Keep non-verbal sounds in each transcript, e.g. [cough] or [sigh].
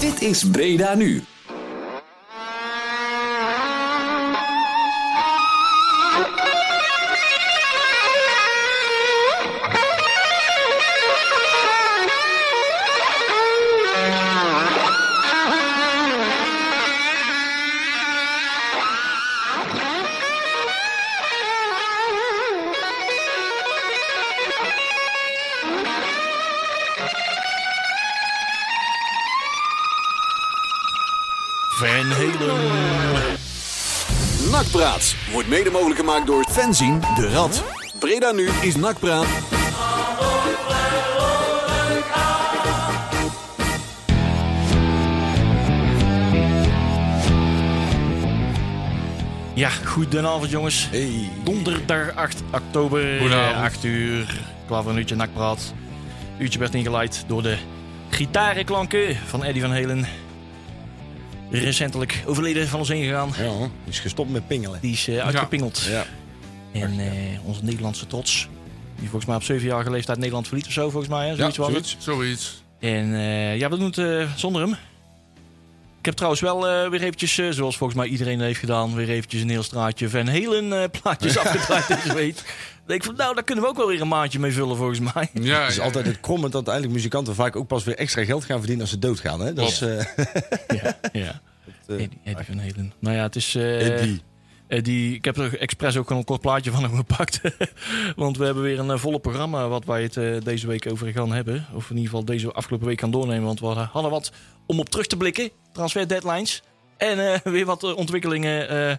Dit is Breda Nu. Van Helen. Nakpraat wordt mede mogelijk gemaakt door Fenzien de Rad. Breda nu is Nakpraat. Ja, goedenavond jongens. Hey. Donderdag 8 oktober, Goedenavond. eh, 8 uur. Klaar voor een uurtje nakpraat. Uurtje werd ingeleid door de gitarenklanken van Eddie van Helen. Recentelijk overleden van ons ingegaan. Ja, hoor. die is gestopt met pingelen. Die is eh, uitgepingeld. Ja. En eh, onze Nederlandse trots. Die volgens mij op 7-jarige leeftijd Nederland verliet of zo, volgens mij. Hè? Zoiets was het. Zoiets. En eh, ja, we doen het eh, zonder hem. Ik heb trouwens wel eh, weer eventjes, eh, zoals volgens mij iedereen heeft gedaan, weer eventjes een heel straatje Van Helen eh, plaatjes afgedraaid deze week. Ik denk van, nou, daar kunnen we ook wel weer een maandje mee vullen volgens mij. Ja, Het is ja. altijd het kromme dat uiteindelijk muzikanten vaak ook pas weer extra geld gaan verdienen als ze doodgaan. Hè? Dat is, eh, [laughs] ja, ja. eh, Eddie, Eddie Van Helen. Nou ja, het is... eh, Eddie. Eddie, ik heb er expres ook een kort plaatje van [laughs] hem gepakt. Want we hebben weer een eh, volle programma wat wij het eh, deze week over gaan hebben. Of in ieder geval deze afgelopen week gaan doornemen. Want we hadden- hadden wat om op terug te blikken. Transfer deadlines. En eh, [laughs] weer wat eh, ontwikkelingen eh,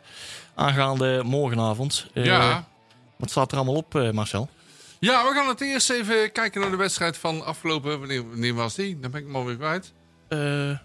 aangaande morgenavond. Eh, ja. Wat staat er allemaal op, eh, Marcel? ja, we gaan het eerst even kijken naar de wedstrijd van afgelopen... Wanneer, wanneer was die? Dan ben ik hem alweer kwijt. Eh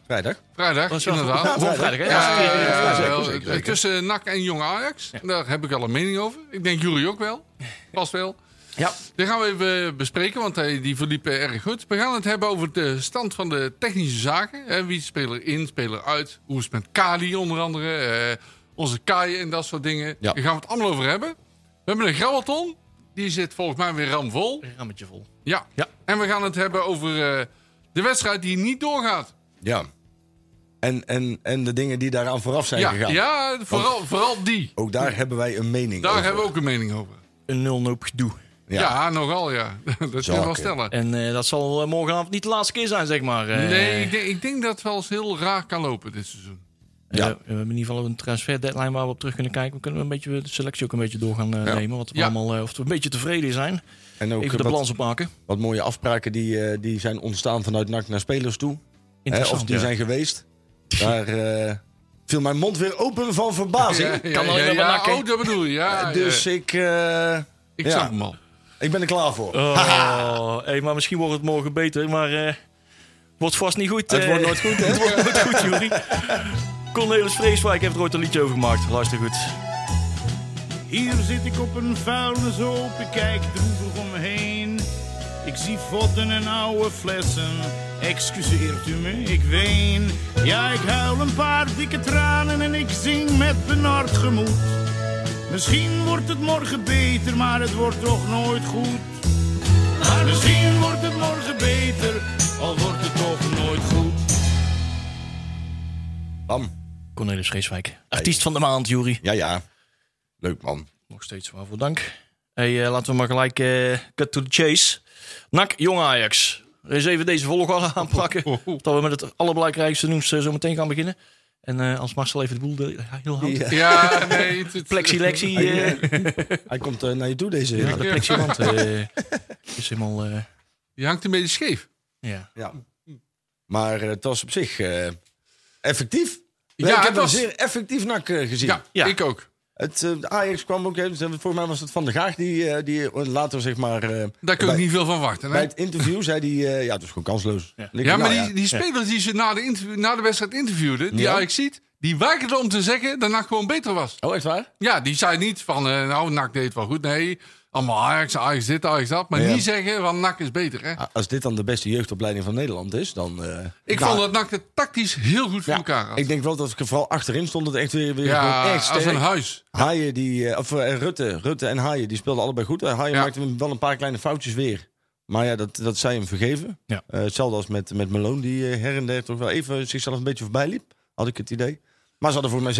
Vrijdag. Vrijdag, was wel- inderdaad. Gewoon vrijdag, hè? Ja, Ja, ja, ja, ja, zeker, wel. zeker, zeker. Tussen NAC en Jong Ajax. Daar heb ik al een mening over. Ik denk jullie ook wel. Pas wel. Ja. Die gaan we even bespreken, want eh, die verliepen erg goed. We gaan het hebben over de stand van de technische zaken. Hè, Wie speler in, speler uit. Hoe is het met Kali onder andere. eh, onze kaaien en dat soort dingen. Ja. Daar gaan we het allemaal over hebben. We hebben een grabbelton. Die zit volgens mij weer ramvol. een rammetje vol. Ja. Ja. En we gaan het hebben over eh, de wedstrijd die niet doorgaat. Ja. En, en, en de dingen die daaraan vooraf zijn ja, gegaan. ja vooral, vooral die. Ook daar hebben wij een mening Daar over. hebben we ook een mening over. Een nul gedoe. Ja, nogal ja. [laughs] dat kan je wel Zaken. stellen. En eh, dat zal eh, morgenavond niet de laatste keer zijn, zeg maar. Eh, Nee, ik denk, ik denk dat het wel eens heel raar kan lopen dit seizoen. Eh, Ja. we hebben in ieder geval een transfer deadline waar we op terug kunnen kijken. We kunnen een beetje de selectie ook een beetje door gaan eh, nemen. Wat we Ja. allemaal, eh, of we een beetje tevreden zijn. En ook Even de eh, wat, balans opmaken. wat mooie afspraken die, eh, die zijn ontstaan vanuit NAC naar spelers toe. Hè, Interessant. of die ja. zijn geweest. Daar eh, viel mijn mond weer open van verbazing. Ja, ja, Kan alleen ja, maar ja, nakken. Oh, dat bedoel je. Ja, Dus ja. ik, eh, ik ja. snap hem al. ik ben er klaar voor. [laughs] Oh, hey, maar misschien wordt het morgen beter. Maar eh, wordt vast niet goed. Het eh. wordt nooit [laughs] goed, hè? het wordt nooit goed, Jury. Cornelis Vreeswijk heeft er ooit een liedje over gemaakt. Luister goed. Hier zit ik op een vuilnishoop, ik kijk droevig om me heen. Ik zie vodden en oude flessen, excuseert u me, ik ween. Ja, ik huil een paar dikke tranen en ik zing met benard gemoed. Misschien wordt het morgen beter, maar het wordt toch nooit goed. Maar misschien wordt het morgen beter, al wordt het toch nooit goed. Bam. Cornelis Vreeswijk. Artiest van de maand, Jury. Ja, ja. Leuk, man. Nog steeds waarvoor dank. Hey, eh, laten we maar gelijk eh cut to the chase. Nak, jong Ajax. Er Eens even deze volgorde aanpakken. Oh, Dat we met het allerbelangrijkste nieuws eh, zo meteen gaan beginnen. En eh, als Marcel even de boel de, heel handig. Ja. Ja, nee. Het, het- Plexilexie. eh, Hij komt eh, naar je toe deze ja, de plexiband eh, is helemaal. eh, Je hangt een beetje scheef. ja. Ja. Mm, Maar eh, het was op zich eh, effectief. Ja, Ja, ik het heb was- een zeer effectief nak eh, gezien. Ja, Ja. ik ook. Het, eh, de Ajax kwam ook, eh, volgens mij was het Van der Gaag, die, eh, die later zeg maar... eh, Daar kun je bij, niet veel van wachten. bij Hè? het interview zei hij, eh, ja, het is gewoon kansloos. nou, Ja, Ja, maar die, die spelers die ze na de, interview- na de wedstrijd interviewden, die Ja. Ajax ziet, die weigerden om te zeggen dat NAC gewoon beter was. Oh, echt waar? Ja, die zei niet van, eh, nou, NAC deed het wel goed. Nee, allemaal Ajax, Ajax dit, Ajax dat. Maar Ja. niet zeggen van, NAC is beter, hè. Ah, Als dit dan de beste jeugdopleiding van Nederland is, dan... eh, Ik nou, vond dat NAC het tactisch heel goed voor ja, elkaar had. Ik denk wel dat ik er vooral achterin stond, het echt weer, weer gewoon ja, echt als sterk. een huis. Haaien die, eh, of eh, Rutte, Rutte en Haaien, die speelden allebei goed. Eh, Haaien Ja. maakte wel een paar kleine foutjes weer. Maar ja, dat, dat zij hem vergeven. Ja. Eh, hetzelfde als met, met Malone, die eh, her en der toch wel even zichzelf een beetje voorbij liep. Had ik het idee. Maar ze hadden voor mij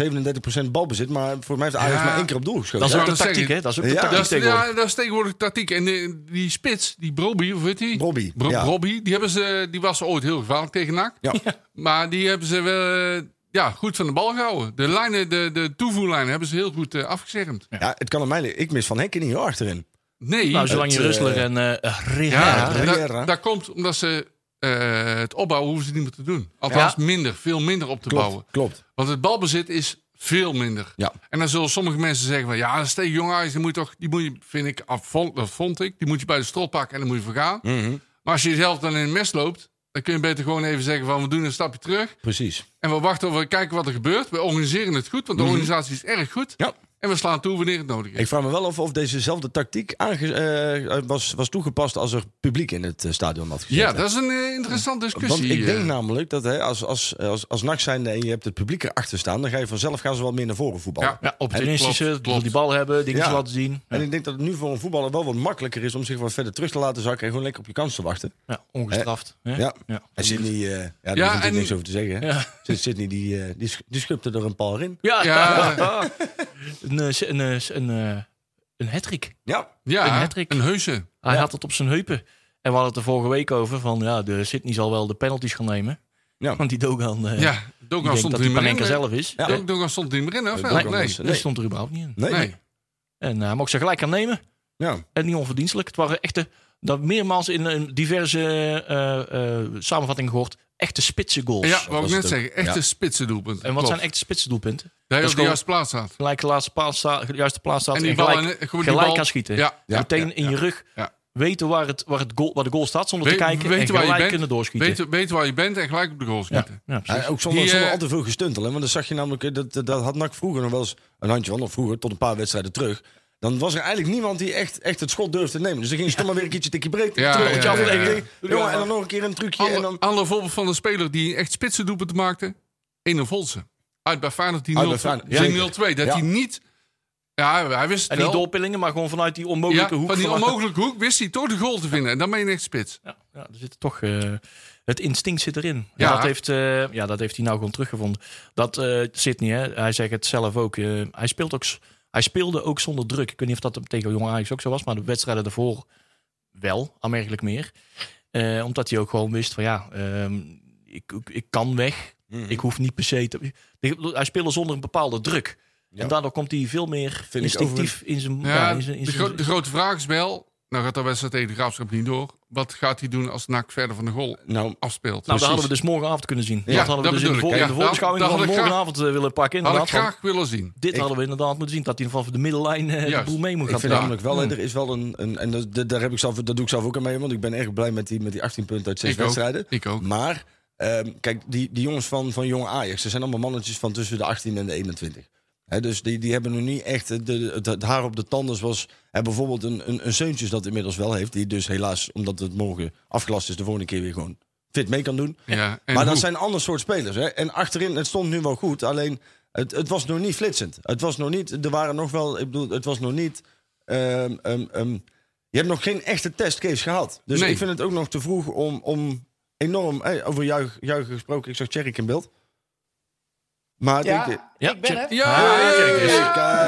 37% balbezit. Maar voor mij heeft Ajax Ja. maar één keer op doel Dat geschoten. is Ja, ook de dat zeg tactiek, ik. hè? Dat is ook de Ja. tactiek Dat is, tegenwoordig. ja, dat is tegenwoordig tactiek. En eh, die spits, die Brobbey, of weet die? Brobbey, Bro- ja. Brobbey, die, hebben ze, die was ooit heel gevaarlijk tegen NAC. Ja. Maar die hebben ze wel eh, ja, goed van de bal gehouden. De, lijnen, de, de toevoerlijnen hebben ze heel goed eh, afgezegmd. Ja, het kan aan mij liggen. Ik mis Van Henken niet hoor, achterin. Nee, Nou, zolang je Het, eh, Rustler en eh ja, Riera... ja, dat, Riera. dat komt omdat ze eh, het opbouwen hoeven ze niet meer te doen. Althans, minder, veel minder op te bouwen. klopt. Want het balbezit is veel minder. Ja. En dan zullen sommige mensen zeggen van... ja, dat is tegen Jong Ajax, die moet je toch... die moet je, vind ik, af- vond, dat vond ik, die moet je bij de strop pakken en dan moet je vergaan. Mhm. Maar als je zelf dan in het mes loopt... dan kun je beter gewoon even zeggen van... we doen een stapje terug Precies. en we wachten... of we kijken wat er gebeurt. We organiseren het goed, want de organisatie is erg goed. Mhm. Ja. En we slaan toe wanneer het nodig is. Ik vraag me wel af of dezezelfde tactiek aange- eh, was, was toegepast als er publiek in het eh, stadion had gezeten. ja, dat is een eh, interessante Want discussie. ik denk nou- eh. namelijk dat hè, als, als, als, als nacht zijnde en je hebt het publiek erachter staan, dan ga je vanzelf gaan ze wel meer naar voren voetballen. Ja. Ja, opportunistische, Klopt, klopt. wil die bal hebben, dingetjes Ja. laten zien. Ja, En ik denk dat het nu voor een voetballer wel wat makkelijker is om zich wat verder terug te laten zakken en gewoon lekker op je kans te wachten. ja, ongestraft. hè? Ja. Ja. En Sidney, eh, ja, daar is Ja, natuurlijk en- niks over te zeggen. hè. Ja. Sid- Sidney, die, eh, die, sch- die schupte er een paar in. Ja, Ja. [laughs] een, eh, een, eh, een, eh, een hat-trick. Ja, Een ja, een, hattrick. heuse. Hij had het op zijn heupen. En we hadden het er vorige week over van ja, de Sydney zal wel de penalties gaan nemen. Ja. Want die Dogan, eh, Ja, die Dogan denkt dat die stond er niet meer Panenka in. zelf is. Ja. Eh, Dog- Dogan stond er niet meer in, of wel? Dogan Nee. was- Die stond er überhaupt niet in. nee. nee. En eh, hij mocht ze gelijk aan nemen. Ja. En niet onverdienstelijk. Het waren echte, dat meermaals in een diverse eh, eh, samenvattingen gehoord, echte spitse goals. Ja, wou was ik het net ook. zeggen. Echte Ja. spitsen doelpunten. En wat Klopt. zijn echte spitse doelpunten? Dat Dat is je op de gewoon- juiste plaats staat. Gelijk de laatste plaats staat, de juiste plaats staat en, die bal gelijk, in- gewoon die gelijk bal- gaan schieten. Ja, ja, Meteen ja, in je rug ja. weten waar, het, waar, het goal, waar de goal staat zonder Weet- te kijken weten en waar je gelijk bent. kunnen doorschieten. Weet, weet waar je bent en gelijk op de goal ja, schieten. ja, precies. Ja, ook zonder, Die, eh, zonder al te veel gestuntel. Hè? Want dan zag je namelijk, eh, dat, dat, dat had NAC vroeger nog wel eens een handje van. Of vroeger, tot een paar wedstrijden terug. Dan was er eigenlijk niemand die echt, echt het schot durfde te nemen. Dus dan ging ze toch maar weer een keertje tikkie breed. Ja, terug op je ja, af en ja, toe, ja. eh, jongen, en dan nog een keer een trucje. en Ander, dan, ander voorbeeld van een speler die echt spitsen doelpunten maakte. Ene Volsen. Uit bij Feyenoord die 0-2. Uit bij Feyenoord, die zeker. 0-2. Dat Ja. hij niet... Ja, hij wist het En niet wel. doorpillingen, maar gewoon vanuit die ja, onmogelijke hoek. van die onmogelijke hoek wist hij toch de goal te vinden. En dan ben je echt [laughs] spits. Ja, ja, er zit toch, eh, het instinct zit erin. Ja. Ja. Dat, heeft, eh, ja, dat heeft hij nou gewoon teruggevonden. Dat eh zit niet, hè. Hij zegt het zelf ook. eh, hij, speelt ook s- hij speelde ook zonder druk. Ik weet niet of dat tegen Jong Ajax ook zo was, maar de wedstrijden daarvoor wel, aanmerkelijk meer. Eh, omdat hij ook gewoon wist van ja, ehm, ik, ik, ik kan weg. Mhm. Ik hoef niet per se te... Hij speelde zonder een bepaalde druk. En daardoor komt hij veel meer ik instinctief in zijn... Ja, ja, in zijn, in de, zijn- gro- de grote vraag is wel... Nou gaat de wedstrijd tegen de Graafschap niet door. Wat gaat hij doen als NAC verder van de goal nou, afspeelt? Nou, Precies. dat hadden we dus morgenavond kunnen zien. Ja, dat hadden we dat dus in de, bedoel voor, ik, in de ja. Dat- voorbeschouwing dat had van ik graag- morgenavond eh, willen pakken. Had ik Inderdaad, want graag willen zien. dit Ik- hadden we inderdaad moeten zien. Dat hij in ieder geval van de middenlijn eh, de Juist. boel mee moet ik gaan vind draaien. namelijk Hmm. wel, hè, er is wel een... een en dat, dat- daar heb ik zelf, dat doe ik zelf ook aan mee. Want ik ben erg blij met die, met die 18 punten uit 6 Ik ook. wedstrijden. Ik ook. Maar, ehm, kijk, die, die jongens van, van jonge Ajax, ze zijn allemaal mannetjes van tussen de 18 en de 21. Hè, dus die, die hebben nog niet echt de, de- het, het haar op de tanden zoals hè, bijvoorbeeld een, een, een Zeuntjes dat inmiddels wel heeft. Die dus helaas, omdat het morgen afgelast is, de volgende keer weer gewoon fit mee kan doen. Ja, en maar dat hoe? zijn ander soort spelers. Hè. En achterin, het stond nu wel goed, alleen het, het was nog niet flitsend. Het was nog niet, er waren nog wel, ik bedoel, het was nog niet... ehm, ehm, ehm, je hebt nog geen echte testcase gehad. Dus Nee. ik vind het ook nog te vroeg om, om enorm... Hey, over juich, juichen gesproken, ik zag Tjerk in beeld. Maar Ja, denk eh, ik... Ja, ik ben er. Ja,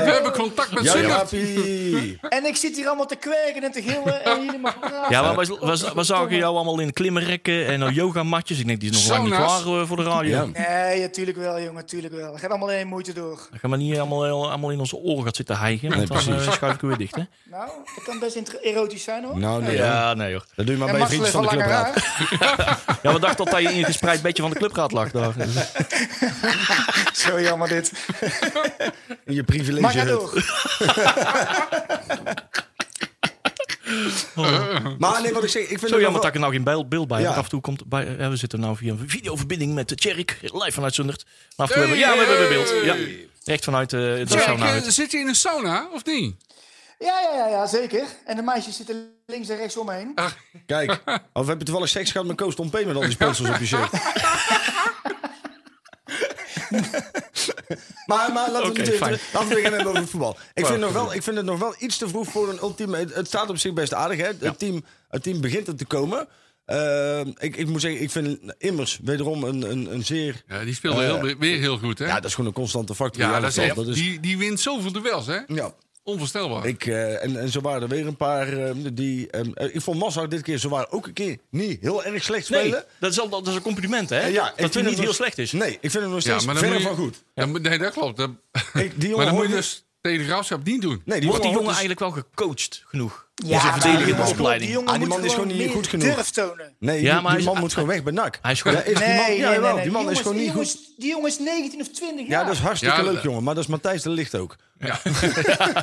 we hebben contact met Ah, Ja, Zingert. Jaapie. En ik zit hier allemaal te kwerken en te gillen. En jullie [laughs] maar praten. Ja, maar we, we, we zagen jou allemaal in klimrekken en nou yogamatjes. Ik denk, die is nog lang niet Sauna's. klaar eh, voor de radio. Ja. Nee, natuurlijk wel, jongen, natuurlijk wel. Het gaat allemaal alleen moeite door. Dan gaan we niet allemaal, allemaal in onze oren gaan zitten hijgen. Want dan eh, schuif ik weer dicht, hè? Nou, dat kan best inter- erotisch zijn hoor. Nou, nee. hoor. Ja, nee hoor. Dat doe je maar en bij je Marcel vriendjes heeft van al de langer clubraad. haar. Ja, we dachten dat hij in een gespreid bedje van de clubraad lag. Daar. [laughs] [laughs] Zo jammer dit. Je Maar privilege. ga Rut. door. Maar nee, wat ik zeg, ik vind Zo het nog jammer wel- dat ik er nou geen beeld, beeld bij heb. Ja. Want Af en toe komt bij, eh, we zitten nou via een videoverbinding met de Tjerk, live vanuit Zundert. Maar af en toe Hey, hebben we, ja, we hey. hebben beeld. Ja. Echt vanuit eh de Jack, sauna. eh, uit. zit je in een sauna of niet? Ja, ja, ja, ja, zeker. En de meisjes zitten links en rechts omheen. Kijk, [laughs] of heb je toevallig seks gehad met Koos Tom P. met al die sponsors op je shirt? Maar, maar laten, Oké, we het, fijn. laten we het gaan hebben over voetbal. Ik Wow. vind, nog wel, ik vind het nog wel iets te vroeg voor een ultieme. Het, het staat op zich best aardig. Hè? Het, team, het team begint er te komen. Eh, ik, ik moet zeggen, ik vind immers wederom een, een, een zeer. Ja, die speelde Eh, heel, weer heel goed, hè? Ja, Ja, dat is gewoon een constante factor. in dat elk is, echt- geval. dat is Die, die wint zoveel duels, hè? ja. Onvoorstelbaar. Ik, eh, en, en zo waren er weer een paar eh, die. eh, eh, ik vond Massa dit keer, ze waren ook een keer niet heel erg slecht Nee, spelen. dat is, al, dat is een compliment, hè? Ja, Eh, ik dat vind het hem niet nog- heel slecht is. Nee, ik vind hem nog steeds maar verre moet je- van goed. Ja, maar- nee, dat klopt. Dat- Ik, die jongen [laughs] maar dan moet hoort je dus- dus tegen de graafschap niet doen. Nee, die Wordt die jongen jongen hoort eigenlijk dus- wel gecoacht genoeg? Ja, Ja, zijn maar verdedigende jongens, opleiding. Die jongen Ah, die moet man is gewoon gewoon niet meer goed genoeg. durf tonen. Nee, Ja, die, maar die hij is- man moet gewoon weg bij NAC. Hij is gewoon- Ja, is die Nee, man- nee, ja, jawel, nee, Die man jongens, is gewoon niet die goed. jongens, Die jongen is 19 of 20 Ja, jaar. dat is hartstikke Ja, leuk, dat- jongen. Maar dat is Matthijs de Licht ook. [laughs] Ja.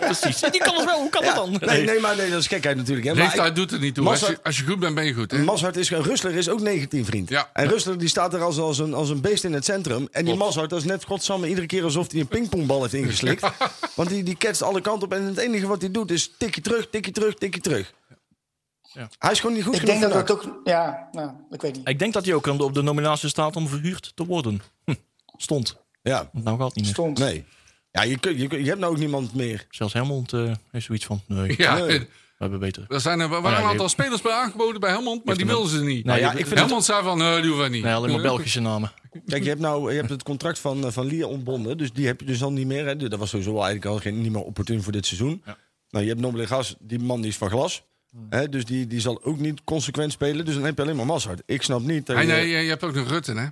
Precies. Die kan het wel, hoe kan dat dan? Nee, nee, maar nee, dat is gekheid natuurlijk. Hè. Maar Leeftijd doet het niet toe. Als Massa- je, als je goed bent, ben je goed. Hè? ik- Mashart is, Rusler is ook 19, vriend. Ja. En Rusler die staat er als, als, een, als een beest in het centrum. En die Mashart, dat is net godsamme iedere keer alsof hij een pingpongbal heeft ingeslikt. [laughs] Want die, die ketst alle kanten op. En het enige wat hij doet is tikje terug, tikje terug, tikje terug. Ja. Hij is gewoon niet goed ik genoeg denk dat voor dat ook... Ja, nou, ik weet niet. Ik denk dat hij ook op de nominatie staat om verhuurd te worden. Hm. Stond. NAC. Ja, Want nou gaat het niet meer. Stond. nee. Ja, je, kun, je, kun- je hebt nou ook niemand meer. Zelfs Helmond eh, heeft zoiets van, nee, we Ja, Nee. hebben beter. er zijn er, ja, waren een die- aantal spelers bij aangeboden bij Helmond, maar die hem- wilden ze niet. Nee, ja, die- ik vind Helmond zei van, nee, die hoeven we niet. Nee, alleen maar Belgische namen. Kijk, je hebt, nou, je hebt het contract van, eh, van Lier ontbonden. Dus die heb je dus al niet meer. Hè. Dat was sowieso eigenlijk al geen, niet meer opportun voor dit seizoen. Nou, je hebt Nobele Gas, die man die is van glas. Hmm. Hè, dus die, die zal ook niet consequent spelen. Dus dan heb je alleen maar Massard. Ik snap niet. dat Ah, je- nee, je, je hebt ook nog Rutten, hè?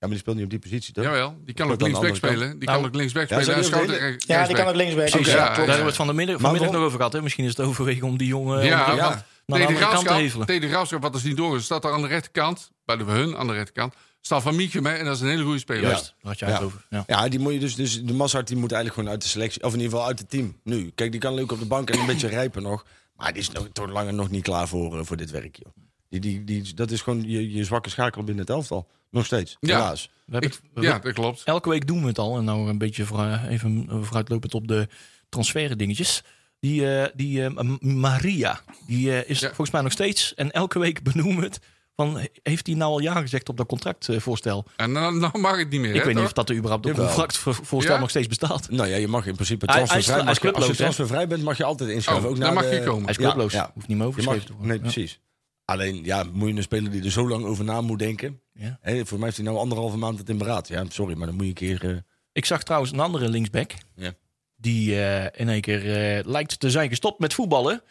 Ja, maar die speelt niet op die positie, toch? Jawel, die kan Klopt, ook aan de linksback andere kant. spelen. Die Nou, kan ook linksback ja, spelen. En zou die ook Schouten rechts- Ja, die kan rechtsback. ook linksback. Precies, Oké, ja, ja, daar hebben we ja. het vanmiddag, Maar vanmiddag nog waarom- over gehad. Hè? Misschien is het overwegen om die jongen eh, Ja, onderuit- ja. want naar de tegen de andere kant te graafschap, hevelen. tegen de graafschap, wat is niet door? Staat er aan de rechterkant, bij de, hun aan de rechterkant, staat Van Mietje mee en dat is een hele goede speler. Juist, daar had jij het Ja. over. Ja. Ja, die moet je dus, dus de Massard die moet eigenlijk gewoon uit de selectie. Of in ieder geval uit het team nu. Kijk, die kan leuk op de bank en een [clears throat] beetje rijpen nog. Maar die is nog, toch langer nog niet klaar voor, eh, voor dit werk, joh. Die, die, die, dat is gewoon je, je zwakke schakel binnen het elftal. Nog steeds, Ja. helaas. We hebben Ik- het- we- ja, dat klopt. Elke week doen we het al. En nou een beetje vooru- even vooruitlopend op de transfer dingetjes. Die, eh, die eh, M- Maria, die eh, is Ja. volgens mij nog steeds. En elke week [laughs] benoemen we het. Van, he- heeft hij nou al ja gezegd op dat contractvoorstel? En dan, dan mag het niet meer. Ik hè, weet niet toch? of dat er überhaupt op Jawel. contractvoorstel Ja? nog steeds bestaat. Nou ja, je mag in principe Hij- hij is tra- transfervrij. hij is mag je- als je clubloos, hè? transfervrij bent, mag je altijd inschrijven. Oh, ook dan na mag de- je komen. Hij is Ja, clubloos. ja. Hoeft niet meer Je mag, overgeschreven te worden. nee, Ja. precies. Alleen, ja, moet je een speler die er zo lang over na moet denken. Ja. Hè, voor mij heeft hij nou anderhalve maand het in beraad. Ja, sorry, maar dan moet je een keer... eh, Ik zag trouwens een andere linksback. Ja. Die eh, in één keer eh, lijkt te zijn gestopt met voetballen.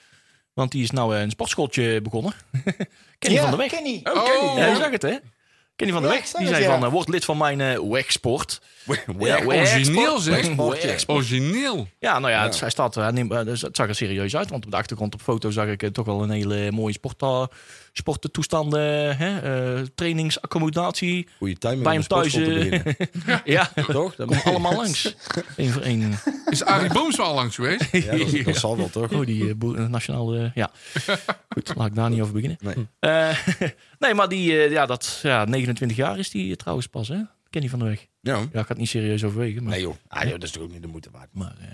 Want die is nou eh, een sportschooltje begonnen. [laughs] Kenny Ja, van der Weg. Kenny. Oh, Ja, je zag het hè? Kenny van der Ja, Weg. ik zag Die het, zei ja. van, eh, word lid van mijn eh Wegsport. Ja, origineel Wegsport. zeg. Wegsport. Oh, Origineel. Ja, nou ja, het, hij staat, hij neemt, eh, dus het zag er serieus uit. Want op de achtergrond op foto zag ik eh, toch wel een hele mooie sport, eh, sporttoestanden. Hè? eh, [laughs] trainingsaccommodatie. Goeie timing Bij om hem een sportschool thuis, te eh, [laughs] beginnen. Ja, Toch? Dat kom allemaal langs. Eén voor één. Is Arie Boomsma al langs geweest? Ja, dat, [laughs] dat zal wel, toch? Oh, die eh, boer- eh, nationaal. eh, ja. Goed, laat ik daar niet over beginnen. Nee. Eh, [laughs] nee, maar die, eh, ja, dat, ja, 29 jaar is die eh, trouwens pas, hè? Kenny van de Weg. Ja. Ja, ik ga het niet serieus overwegen. Maar, Nee joh. Ah, joh, dat is toch ook niet de moeite waard. maar, eh,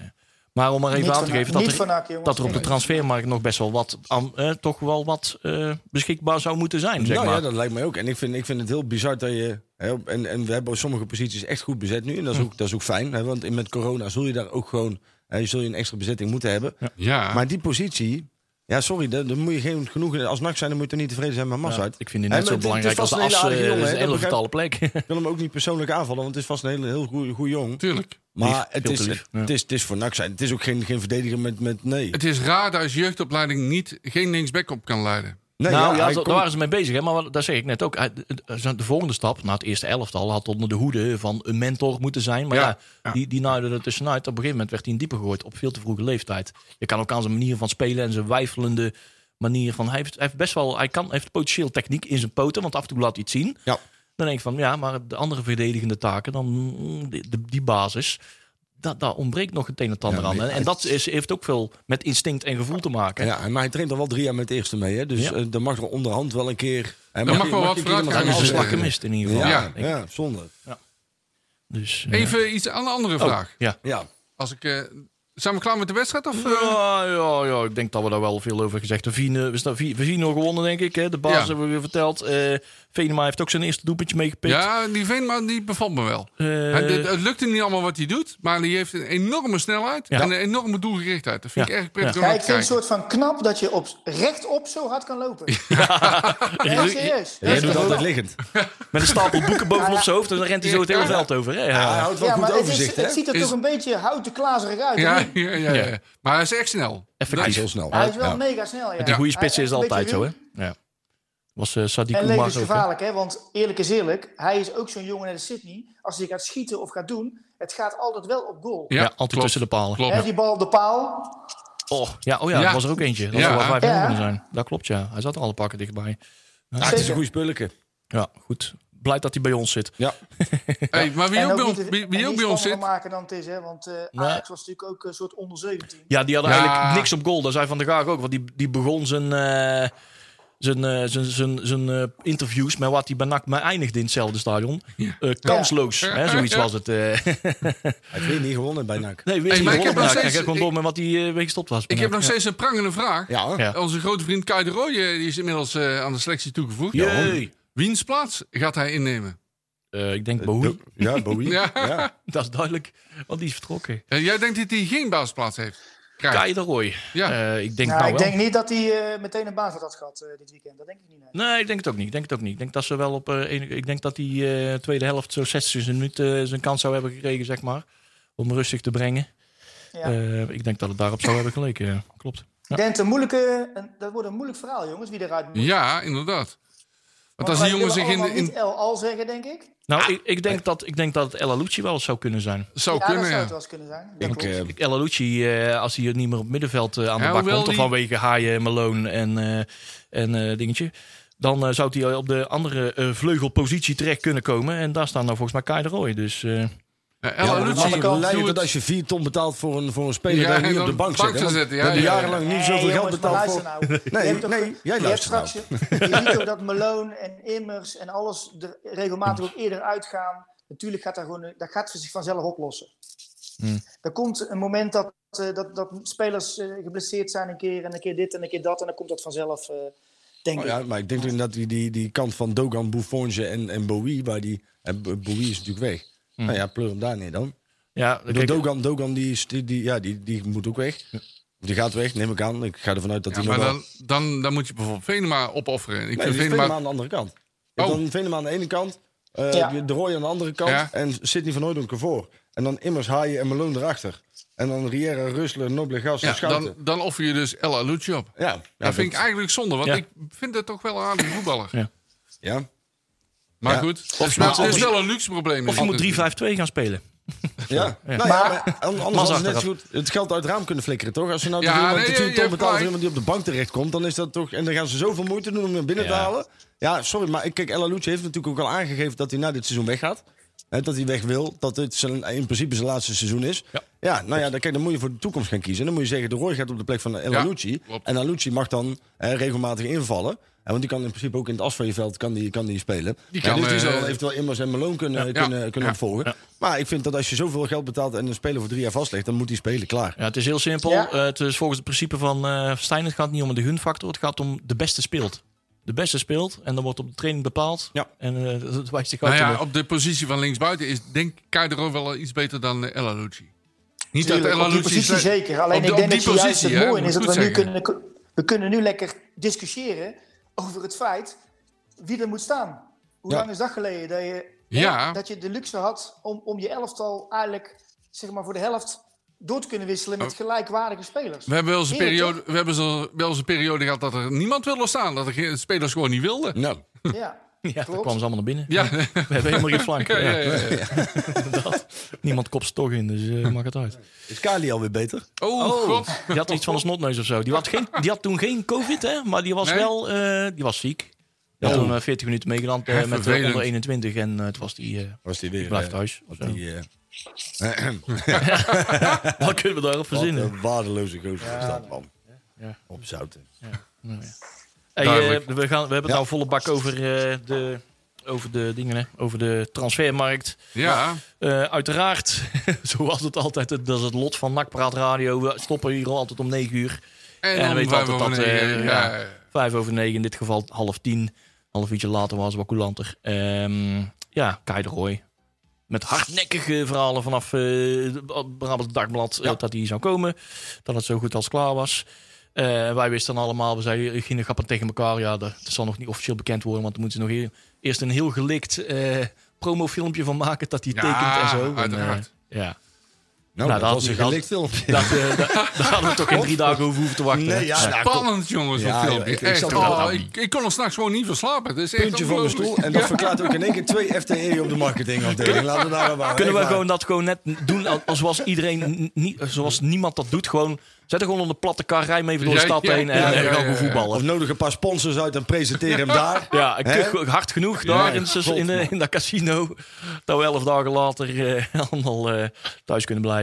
maar om maar even Niet aan te van- geven dat niet er, van Aken, jongens. dat er op de Nee. transfermarkt nog best wel wat, am- eh, toch wel wat eh, beschikbaar zou moeten zijn, zeg nou maar. ja, dat lijkt mij ook. En ik vind, ik vind het heel bizar dat je... Hè, op- en, en we hebben sommige posities echt goed bezet nu. En Hm. dat is ook, dat is ook fijn. Hè, want in- met corona zul je daar ook gewoon... Hè, je zul je een extra bezetting moeten hebben. Ja. Maar die positie... Ja, sorry, daar, daar moet je geen genoegen... Als NAC zijn, dan moet je er niet tevreden zijn met Ja, Massard. ik vind die Hè, net zo maar het- het is belangrijk als de vast as een hele aardige eh, jongen, is hè, een dat hele begrijp getallen plek. [laughs] Ik wil hem ook niet persoonlijk aanvallen, want het is vast een hele, heel goede, goede jongen. Tuurlijk. Maar het veel is, te lief, ja. het, is, het is voor NAC zijn. Het is ook geen, geen verdediger met... met nee. Het is raar dat als jeugdopleiding niet, geen linksback op kan leiden. nee nou ja, ja, hij daar komt- waren ze mee bezig. Hè? Maar wat- dat zeg ik net ook. Hij- De de volgende stap, na het eerste elftal, had onder de hoede van een mentor moeten zijn. Maar ja, Ja, die, die naaide er tussenuit. Op een gegeven moment werd hij in diepe gegooid op veel te vroege leeftijd. Je kan ook aan zijn manier van spelen en zijn wijfelende manier van... Hij heeft, hij heeft best wel... Hij kan, hij heeft potentieel techniek in zijn poten, want af en toe laat hij iets zien. Ja. Dan denk ik van, ja, maar de andere verdedigende taken, dan mm, die, de- die basis... da- daar ontbreekt nog het een en het ander Ja, aan. maar En, en dat is, heeft ook veel met instinct en gevoel te maken. Ja, maar hij traint al wel drie jaar met het eerste mee. Hè? Dus Ja. eh, dan mag er onderhand wel een keer... Hij mag wel wat Daar vooruitgang is dus, een Ja, eh, slag ja. gemist in ieder Ja, geval. ja, Ik- zonde. Dus, eh, Even iets aan een andere oh, vraag. Ja. Ja. Als ik eh, Zijn we klaar met de wedstrijd? Of, eh? Ja, ja, ja, ik denk dat we daar wel veel over gezegd hebben. Vien, eh, we staan- Vien- we zien nog gewonnen, denk ik. Hè? De baas Ja. hebben we weer verteld. Eh Venema heeft ook zijn eerste doelpuntje meegepikt. ja, die Veenman die bevalt me wel. Eh, Hij- het, het lukt hem niet allemaal wat hij doet, maar hij heeft een enorme snelheid Ja. en een enorme doelgerichtheid. Dat vind Ja. ik erg prettig om Ja, naar ik te vind het kijken. soort van knap dat je op, rechtop zo hard kan lopen. doet- Ja, serieus. Jij doet Ja, altijd liggend. met een stapel boeken bovenop zijn hoofd. En dan rent hij zo het hele veld over. Hè? Hij Ja. houdt wel goed maar het, overzicht, is, het hè? ziet er Is- toch een beetje houten klazerig uit. Ja, hè? ja, ja, ja, Ja. Maar hij is echt snel. Hij Effectief. is heel snel. Hij is wel Ja. mega snel. Ja. Met die goede Hij- spitsen is een het altijd beetje zo, hè? ruw. Ja. Was eh Sadiq En Umar ook, hè? levensgevaarlijk, hè? Want eerlijk is eerlijk, hij is ook zo'n jongen net als Sydney. Als hij gaat schieten of gaat doen, het gaat altijd wel op goal. Ja, altijd tussen de palen. Klopt. Hè, die bal op de paal. Oh, ja, oh ja, Ja. er was er ook eentje. Dat Ja. zou wel vijf Ja. kunnen zijn. Dat klopt, ja. Hij zat er alle pakken dichtbij. Ja, het is een Zeker. goede spulletje. Ja, goed. Blij dat hij bij ons zit. Ja. Hey, maar wie en ook, ook bij ons, niet- wie, en wie niet ook bij ons zit, spannender maken dan het is, hè? Want eh Nee. Ajax was natuurlijk ook een soort onder 17. Ja, die hadden Ja. eigenlijk niks op goal. Daar zei Van der Gaag ook. Want die, die begon zijn, eh, zijn, eh, zijn, zijn, zijn eh, interviews met wat hij bij NAC maar eindigde in hetzelfde stadion. Eh, kansloos, Ja. hè, zoiets Ja. was [laughs] het. eh. Hij heeft weer niet gewonnen bij NAC. nee, weer Hey, niet maar ik heb gewonnen. nog Hij steeds- ging gewoon ik- door met wat hij eh, mee gestopt was. ik heb nog Ja. steeds een prangende vraag. Ja, hoor. Ja. Onze grote vriend Kai de Roy eh, die is inmiddels eh, aan de selectie toegevoegd. Jee. Wiens plaats gaat hij innemen? Eh, ik denk Bowie, Ja, Bowie. Ja. Ja. dat is duidelijk. Want die is vertrokken. Eh, jij denkt dat hij geen baasplaats heeft? Krijgt. Kai de Roy. Ja. Eh, ik denk Nou, nou ik wel. denk niet dat hij eh, meteen een baas had gehad eh, dit weekend. Dat denk ik niet. nee. Nee, ik denk het ook niet. Ik denk het ook niet. Ik denk dat ze wel op eh, enig- ik denk dat die eh, tweede helft zo 60 minuten eh, zijn kans zou hebben gekregen, zeg maar. Om rustig te brengen. Ja. Eh, ik denk dat het daarop zou hebben geleken. ja. Klopt. Ik denk een moeilijke, een- dat wordt een moeilijk verhaal, jongens, wie eruit moet. Ja, inderdaad. Want als wij die jongen zich willen in, allemaal in niet El Al zeggen, denk ik. Nou, ik, ik, denk dat, ik denk dat het El Alouci wel eens zou kunnen zijn. zou ja, dat kunnen, zou ja. het wel eens kunnen zijn. Dat Ik, klopt. eh, Ik- El Alouci, eh, als hij niet meer op middenveld eh, aan de Ja, bak hoewel komt, of die- vanwege Haaien, Malone en, eh, en eh, dingetje, dan eh, zou hij op de andere eh, vleugelpositie terecht kunnen komen. En daar staan nou volgens mij Kai de Roy. Dus eh, Ja, El Ja, Alouci, maar het doe kan leiden het. dat als je 4 ton betaalt voor een, voor een speler, Ja, dat je en niet op de dan bank bank zit. te hè? zetten, ja, We hebben ja, ja. jarenlang Nee, niet zoveel jongens, geld maar betaald voor... luister nou. Nee, Je hebt toch- nee, jij je hebt luistert nou. straks, Je ziet ook dat Malone en Immers en alles er regelmatig ook eerder uitgaan. Natuurlijk gaat daar gewoon, dat gaat zich vanzelf oplossen. Hmm. Er komt een moment dat, eh, dat, dat spelers eh, geblesseerd zijn een keer en een keer dit en een keer dat. En dan komt dat vanzelf, eh, denk Oh ik. ja, maar ik denk dat die, die, die kant van Dogan, Buffonje en, en Bowie, waar die... En Bo- Bowie is natuurlijk weg. Nou ja, pleur hem daar neer dan. ja, Ik bedoel, Dogan, Dogan die, is- die, die, ja, die, die moet ook weg. Die gaat weg, neem ik aan. Ik ga ervan uit dat Ja, hij maar nog wel... dan, dan, dan moet je bijvoorbeeld Venema opofferen. Ik Nee, vind dus Venema Venema... aan de andere kant. Je Oh. hebt Dan Venema aan de ene kant, eh, Ja. de Roy aan de andere kant Ja. en Sidney van Hooydonk ervoor. En dan Immers, Haaien en Malone erachter. En dan Riera, Rustler, Nobele, Gas Ja, en Schouten. dan, dan offer je dus El Alouci op. ja, ja, dat vind ik eigenlijk zonde, want Ja. ik vind het toch wel een aardige voetballer. Ja, Maar Ja. goed, Of je maar moet- het of is je- wel een luxe probleem. of je moet 3-5-2 gaan spelen. ja. Nou ja, Maar- maar an- anders Mas hadden ze net achteraf. zo goed het geld uit het raam kunnen flikkeren, toch? Als ze nou Ja, ja, nee, de je- 10 je ton hebt betaalt voor gelijk. iemand die op de bank terecht komt, dan is dat toch... En dan gaan ze zoveel moeite doen om hem binnen te Ja. halen. Ja, sorry, maar ik- kijk, El Alouche heeft natuurlijk ook al aangegeven dat hij na dit seizoen weggaat. Hè, dat hij weg wil, dat dit zijn, in principe zijn laatste seizoen is. Ja. Ja, nou ja, dan, kijk, dan moet je voor de toekomst gaan kiezen. Dan moet je zeggen, de Roy gaat op de plek van El Ja, Alouche. klopt. en Alouche mag dan hè, regelmatig invallen. Hè, want die kan in principe ook in het as van je veld kan die, kan die spelen. Die Ja, kan, dus die eh, zal eventueel Immers en Malone kunnen, kunnen, Ja. kunnen Ja. opvolgen. Maar ik vind dat als je zoveel geld betaalt en een speler voor drie jaar vastlegt, dan moet die spelen klaar. Ja, het is heel simpel. Ja. Eh, het is volgens het principe van eh Stijn. Het gaat niet om de gunfactor. Het gaat om de beste speelt. De beste speelt en dan wordt op de training bepaald. Ja. En eh, [laughs] dat wijst zich Nou uit. ja, op de positie van linksbuiten is denk ik Kaidero wel iets beter dan eh, El Alouci. Niet dat El Tuurlijk, op die Alouci... positie slecht- zeker. Alleen op de- ik op denk die dat je juist positie, het hè, mooie moet is dat ik we nu goed zeggen. kunnen, we kunnen nu lekker discussiëren over het feit wie er moet staan. Hoe Ja. lang is dat geleden dat je, hè, Ja. dat je de luxe had om, om je elftal eigenlijk zeg maar, voor de helft door te kunnen wisselen met gelijkwaardige spelers? Oh. We hebben, wel eens een Heerlijk, periode, we hebben zo- wel eens een periode gehad dat er niemand wilde staan. Dat er geen- spelers gewoon niet wilden. Nou, [laughs] Ja. Ja, toen klopt. kwamen ze allemaal naar binnen. Ja, [laughs] We hebben helemaal geen flank. ja, Ja, ja, ja. dat. Niemand kopt ze toch in, dus eh mag het uit. is Kali alweer beter? Oh, god. Die had iets van een snotneus of zo. Die had, geen, die had toen geen covid, hè? maar die was Nee? wel eh, die was ziek. Die had toen eh, 40 minuten meegedaan eh, Hè, met de vervelend. onder 21 en eh, het was die... eh Was die weer? blijft thuis. of zo. Die, [laughs] eh, [clears throat] Wat kunnen we daarop wat eh, verzinnen? een waardeloze gozer is dat, man. Ja. Op zouten. Hey, eh, Duidelijk. we, gaan, we hebben het Ja. nou volle bak over eh, de over de dingen, hè? over de transfermarkt. Ja, Eh, uiteraard, [laughs] zoals het altijd, het- dat is het lot van Nakpraat Radio. We stoppen hier al altijd om 9 uur. en, dan dan weet je waren we altijd dat, wanneer- eh, ja, Vijf over negen, in dit geval half tien. Half uurtje later was het wat coulanter. Ehm, ja, Kai de Roy. Met hardnekkige verhalen vanaf eh, het Brabants Dagblad eh, dat hij zou komen. Dat het zo goed als klaar was. Eh, wij wisten allemaal, we zeiden, eh, gingen grappen tegen elkaar. Ja, dat, dat zal nog niet officieel bekend worden. Want er moeten ze nog e- eerst een heel gelikt eh, promofilmpje van maken dat hij Ja, tekent en zo. En, eh, uiteraard. ja. Nou, dat dat had was een ik al- gelikt [laughs] filmpje. Dat, eh, dat- daar hadden we toch geen drie dagen over hoeven te wachten. Nee, ja, nou, kom. Spannend, jongens, dat Ja, joh, filmpje. ik- ik Echt, zat oh, er ook aan. ik, ik kon er s'nachts gewoon niet van slapen. Het is echt puntje van mijn stoel. En dat verklaart ook in één keer twee FTE op de marketingafdeling. Laten we daar aan waren. Kunnen we Echt waar. gewoon dat gewoon net doen als- als zoals iedereen, n- niet, zoals niemand dat doet. Gewoon, zet er gewoon onder de platte kar, rij hem even door de Ja, stad ja, heen en ja, eh, gaan ja, ja, we ja. Of voetballen. nodig een paar sponsors uit en presenteer hem daar. Ja, en Hè? kuch- hard genoeg daar Ja, in, zes- in, eh, in dat casino. Dat we elf dagen later eh, [laughs] allemaal eh, thuis kunnen blijven.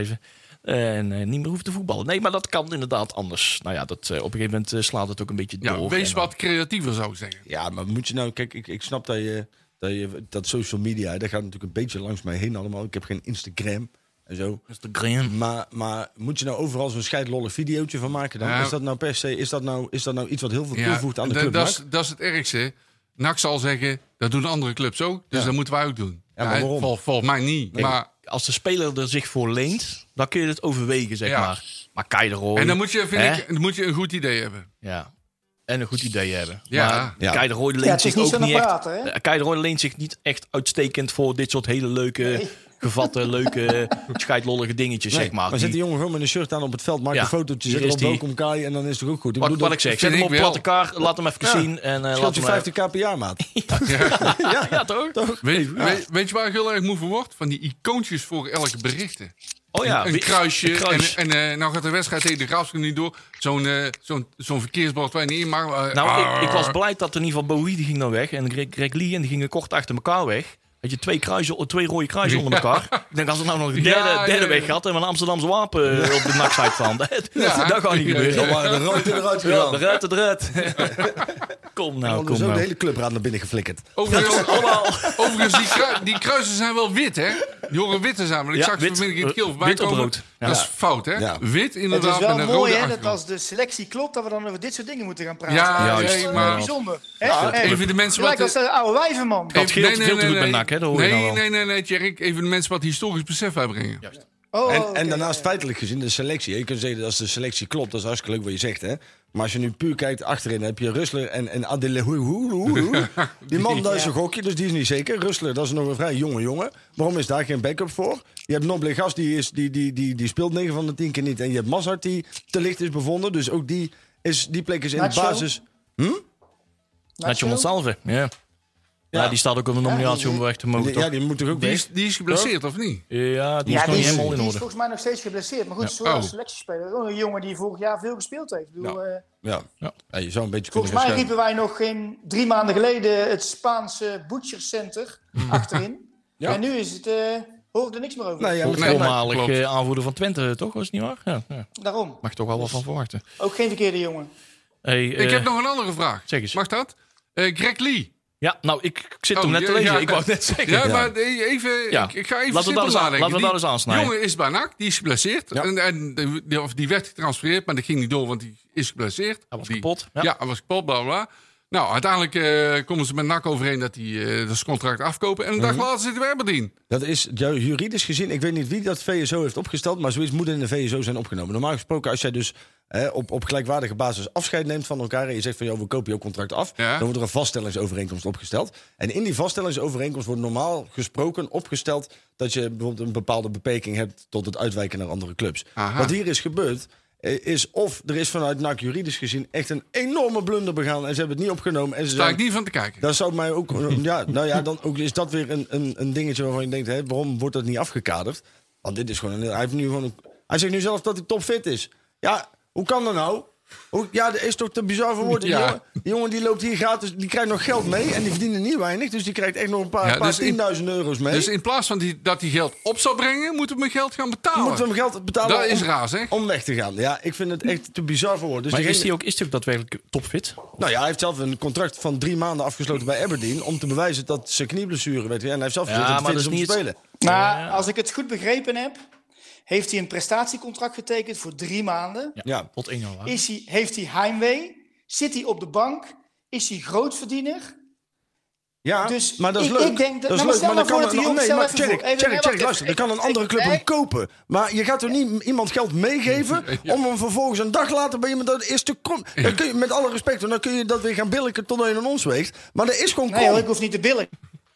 En eh, niet meer hoeven te voetballen. Nee, maar dat kan inderdaad anders. Nou ja, dat, eh, op een gegeven moment eh, slaat het ook een beetje Ja, door. wees En wat creatiever, zou ik zeggen. Ja, maar moet je nou... Kijk, ik, ik snap dat je, dat je... Dat social media, dat gaat natuurlijk een beetje langs mij heen allemaal. Ik heb geen Instagram en zo. dan- Mr. Graham. Maar, maar moet je nou overal zo'n scheidlollig videootje van maken dan? Ja. Is dat nou per se... Is dat nou, is dat nou iets wat heel veel Ja, toevoegt aan de dat- club? dat Mark? is- Dat is het ergste. NAC zal zeggen, dat doen andere clubs ook. Dus Ja. dat moeten wij ook doen. Ja, maar waarom? vol- Volgens mij niet. Maar, Als de speler er zich voor leent, dan kun je het overwegen, zeg Ja. maar. Maar Kai de Roy, en dan moet je, hè? vind ik, dan moet je een goed idee hebben. Ja. En een goed idee hebben. Ja. Maar Ja. Kei de Roy leent Ja, het is zich niet ook zo'n niet echt... apparaat, hè? Eh, Kei de Roy leent zich niet echt uitstekend voor dit soort hele leuke, Nee. gevatte, [laughs] leuke, scheidlollige dingetjes, Nee, zeg maar. maar Die- zit die jongen gewoon met een shirt aan op het veld, maakt Ja, een fotootje, hier zet hem is op die. welkom Kai en dan is het ook goed. Ik wat, bedoel, wat ik zeg, vind zet hem ik op wel. platte kaar, laat hem even Ja. zien. En, eh laat scheelt je hem 50 kph, maat. even- [laughs] Ja, toch? Weet, weet, weet je waar ik heel erg moe van word? Van die icoontjes voor elke berichten. Oh ja, een wie- kruisje. een kruis. En, en eh, nou gaat de wedstrijd tegen de Graafschap niet door. Zo'n eh, zo'n zo'n verkeersbord waar je niet in mag. Eh, nou, ik, ah. ik was blij dat in ieder geval Bowie die ging dan weg en Greg, Greg Lee en die gingen kort achter elkaar weg. Had je twee, kruisen, twee rode kruisen onder elkaar. Ik denk, als er nou nog een derde, Ja, derde ja, ja. weg had en een Amsterdamse wapen eh, op de nachtsite van. [laughs] Dat, Ja. dat gaat niet Ja, gebeuren. Dan waren de rood eruit Ja, gegaan. de ruit, de ruit. [laughs] kom nou, Dan kom hadden we zo de nou. Oh, hele clubraad naar binnen geflikkerd. [laughs] Overigens, overigens die, krui- die kruisen zijn wel wit, hè? Die horen witte zijn, want ik Ja, zag ze wit. vanmiddag in het keel Eh, voorbij wit op komen. rood. Ja. Dat is fout, hè? Ja. Wit Het is inderdaad wel met een mooi rode hè, dat achtergrond. als de selectie klopt, dat we dan over dit soort dingen moeten gaan praten. Ja, dat Juist. is wel maar- bijzonder. hè? Echt. Even de mensen Gelijk wat... als de oude wijvenman. even- scheelt veel te goed met NAC, hè, dat hoor je nee, nou wel. nee, nee, nee, Tjerk. Even de mensen wat historisch besef uitbrengen. Oh, En, oké. en daarnaast feitelijk gezien de selectie. Je kunt zeggen, als de selectie klopt, dat is hartstikke leuk wat je zegt. Hè? Maar als je nu puur kijkt achterin, heb je Rustler en, en Adele. hoe- hoe- hoe- hoe. Die man, dat is een gokje, dus die is niet zeker. Rustler, dat is nog een vrij jonge jongen. Waarom is daar geen backup voor? Je hebt Noblegas, die, is, die, die, die, die speelt 9 van de 10 keer niet. En je hebt Mazart, die te licht is bevonden. Dus ook die, is, die plek is in Nacho? de basis. Nacho Monsalve, ja. Ja. Ja, die staat ook op de nominatie om weg te mogen, ja, toch? die moet toch ook Die weg? is, die is geblesseerd, of niet? Ja, die Ja, is nog die niet is, helemaal in die is orde. volgens mij nog steeds geblesseerd. Maar goed, zo'n Oh. selectiespeler. Gewoon Een jongen die vorig jaar veel gespeeld heeft. Ik Nou, bedoel, eh, Ja. Ja. Ja, je zou een beetje kunnen volgens mij gaan riepen wij nog geen drie maanden geleden het Spaanse butchercenter Mm. achterin. [laughs] En nu is het, eh hoor ik er niks meer over. schuiven. Nou ja, Volgens maar- mij- Voormalig klopt. eh, aanvoerder van Twente, toch? Is het niet waar? Ja, ja. Daarom. Mag je toch wel wat van verwachten. Ook geen verkeerde jongen. Hey, Ik eh, heb nog een andere vraag. zeg eens. Mag dat? Eh, Greg Lee. Ja, nou, ik, ik zit Oh, hem net te ja, lezen. ja. Ik wou het net zeggen. Ja, maar eh, even, Ja. Ik, ik ga Laten we even zitten daar eens aan- nadenken. laten we Die daar eens aansnijden. jongen is bij NAC, die is geblesseerd. Ja. En, en de- die, of die werd getransfereerd, maar dat ging niet door, want die is geblesseerd. Hij was Die- kapot. Ja. Ja, hij was kapot, bla bla. Nou, uiteindelijk eh, komen ze met NAC overeen dat die eh, dat ze contract afkopen. En een Mhm. dag later zitten we Aberdeen. Dat is ju- juridisch gezien, ik weet niet wie dat VSO heeft opgesteld, maar zoiets moet in de VSO zijn opgenomen. Normaal gesproken, als jij dus hè, op, op gelijkwaardige basis afscheid neemt van elkaar en je zegt van joh, we kopen jouw contract af, Ja. dan wordt er een vaststellingsovereenkomst opgesteld. En in die vaststellingsovereenkomst wordt normaal gesproken opgesteld dat je bijvoorbeeld een bepaalde beperking hebt tot het uitwijken naar andere clubs. Aha. Wat hier is gebeurd, eh, is of er is vanuit NAC juridisch gezien echt een enorme blunder begaan en ze hebben het niet opgenomen. En ze Daar zijn- ik niet van te kijken. dat zou mij [laughs] ook. Ja, nou ja, dan ook is dat weer een, een, een dingetje waarvan je denkt: hè, waarom wordt dat niet afgekaderd? Want dit is gewoon. Een, hij, heeft nu gewoon een- hij zegt nu zelf dat hij topfit is. Ja, hoe kan dat nou? Hoe- ja, dat is toch te bizar voor woorden. Die Ja. jongen- Die jongen die loopt hier gratis, die krijgt nog geld mee. En die verdienen niet weinig, dus die krijgt echt nog een paar, Ja, paar dus in- 10.000 euro's mee. Dus in plaats van die, dat hij geld op zou brengen, moeten we geld gaan betalen. moeten we hem geld betalen Dat is om, raar, zeg. om weg te gaan. Ja, ik vind het echt te bizar voor woorden. Dus Maar degene- is die ook, is die ook daadwerkelijk topfit? Nou ja, hij heeft zelf een contract van drie maanden afgesloten bij Aberdeen... om te bewijzen dat zijn knieblessure weet je. En hij heeft zelf gezegd dat hij fit is om te spelen. Maar Ja. Nou, als ik het goed begrepen heb, heeft hij een prestatiecontract getekend voor drie maanden. Ja. Tot 1 januari. Is hij, heeft hij heimwee? Zit hij op de bank? Is hij grootverdiener? Ja, Dus maar dat is ik- leuk. ik denk dat- is nou, maar leuk, stel nou dan voor kan dat die een- jongen- nee, stel maar even Jerry, voor. Even- Jerry, nee, Jerry, wacht luister. even. Er kan een Ik- andere ik- club nee. hem kopen. Maar je gaat toch niet iemand geld meegeven... om hem vervolgens een dag later bij iemand... Dat is te krom. Dan kun je, met alle respect, want dan kun je dat weer gaan billiken... totdat je een ons weegt. Maar dat is gewoon Nee, hoor, ik krom. hoef niet te billen.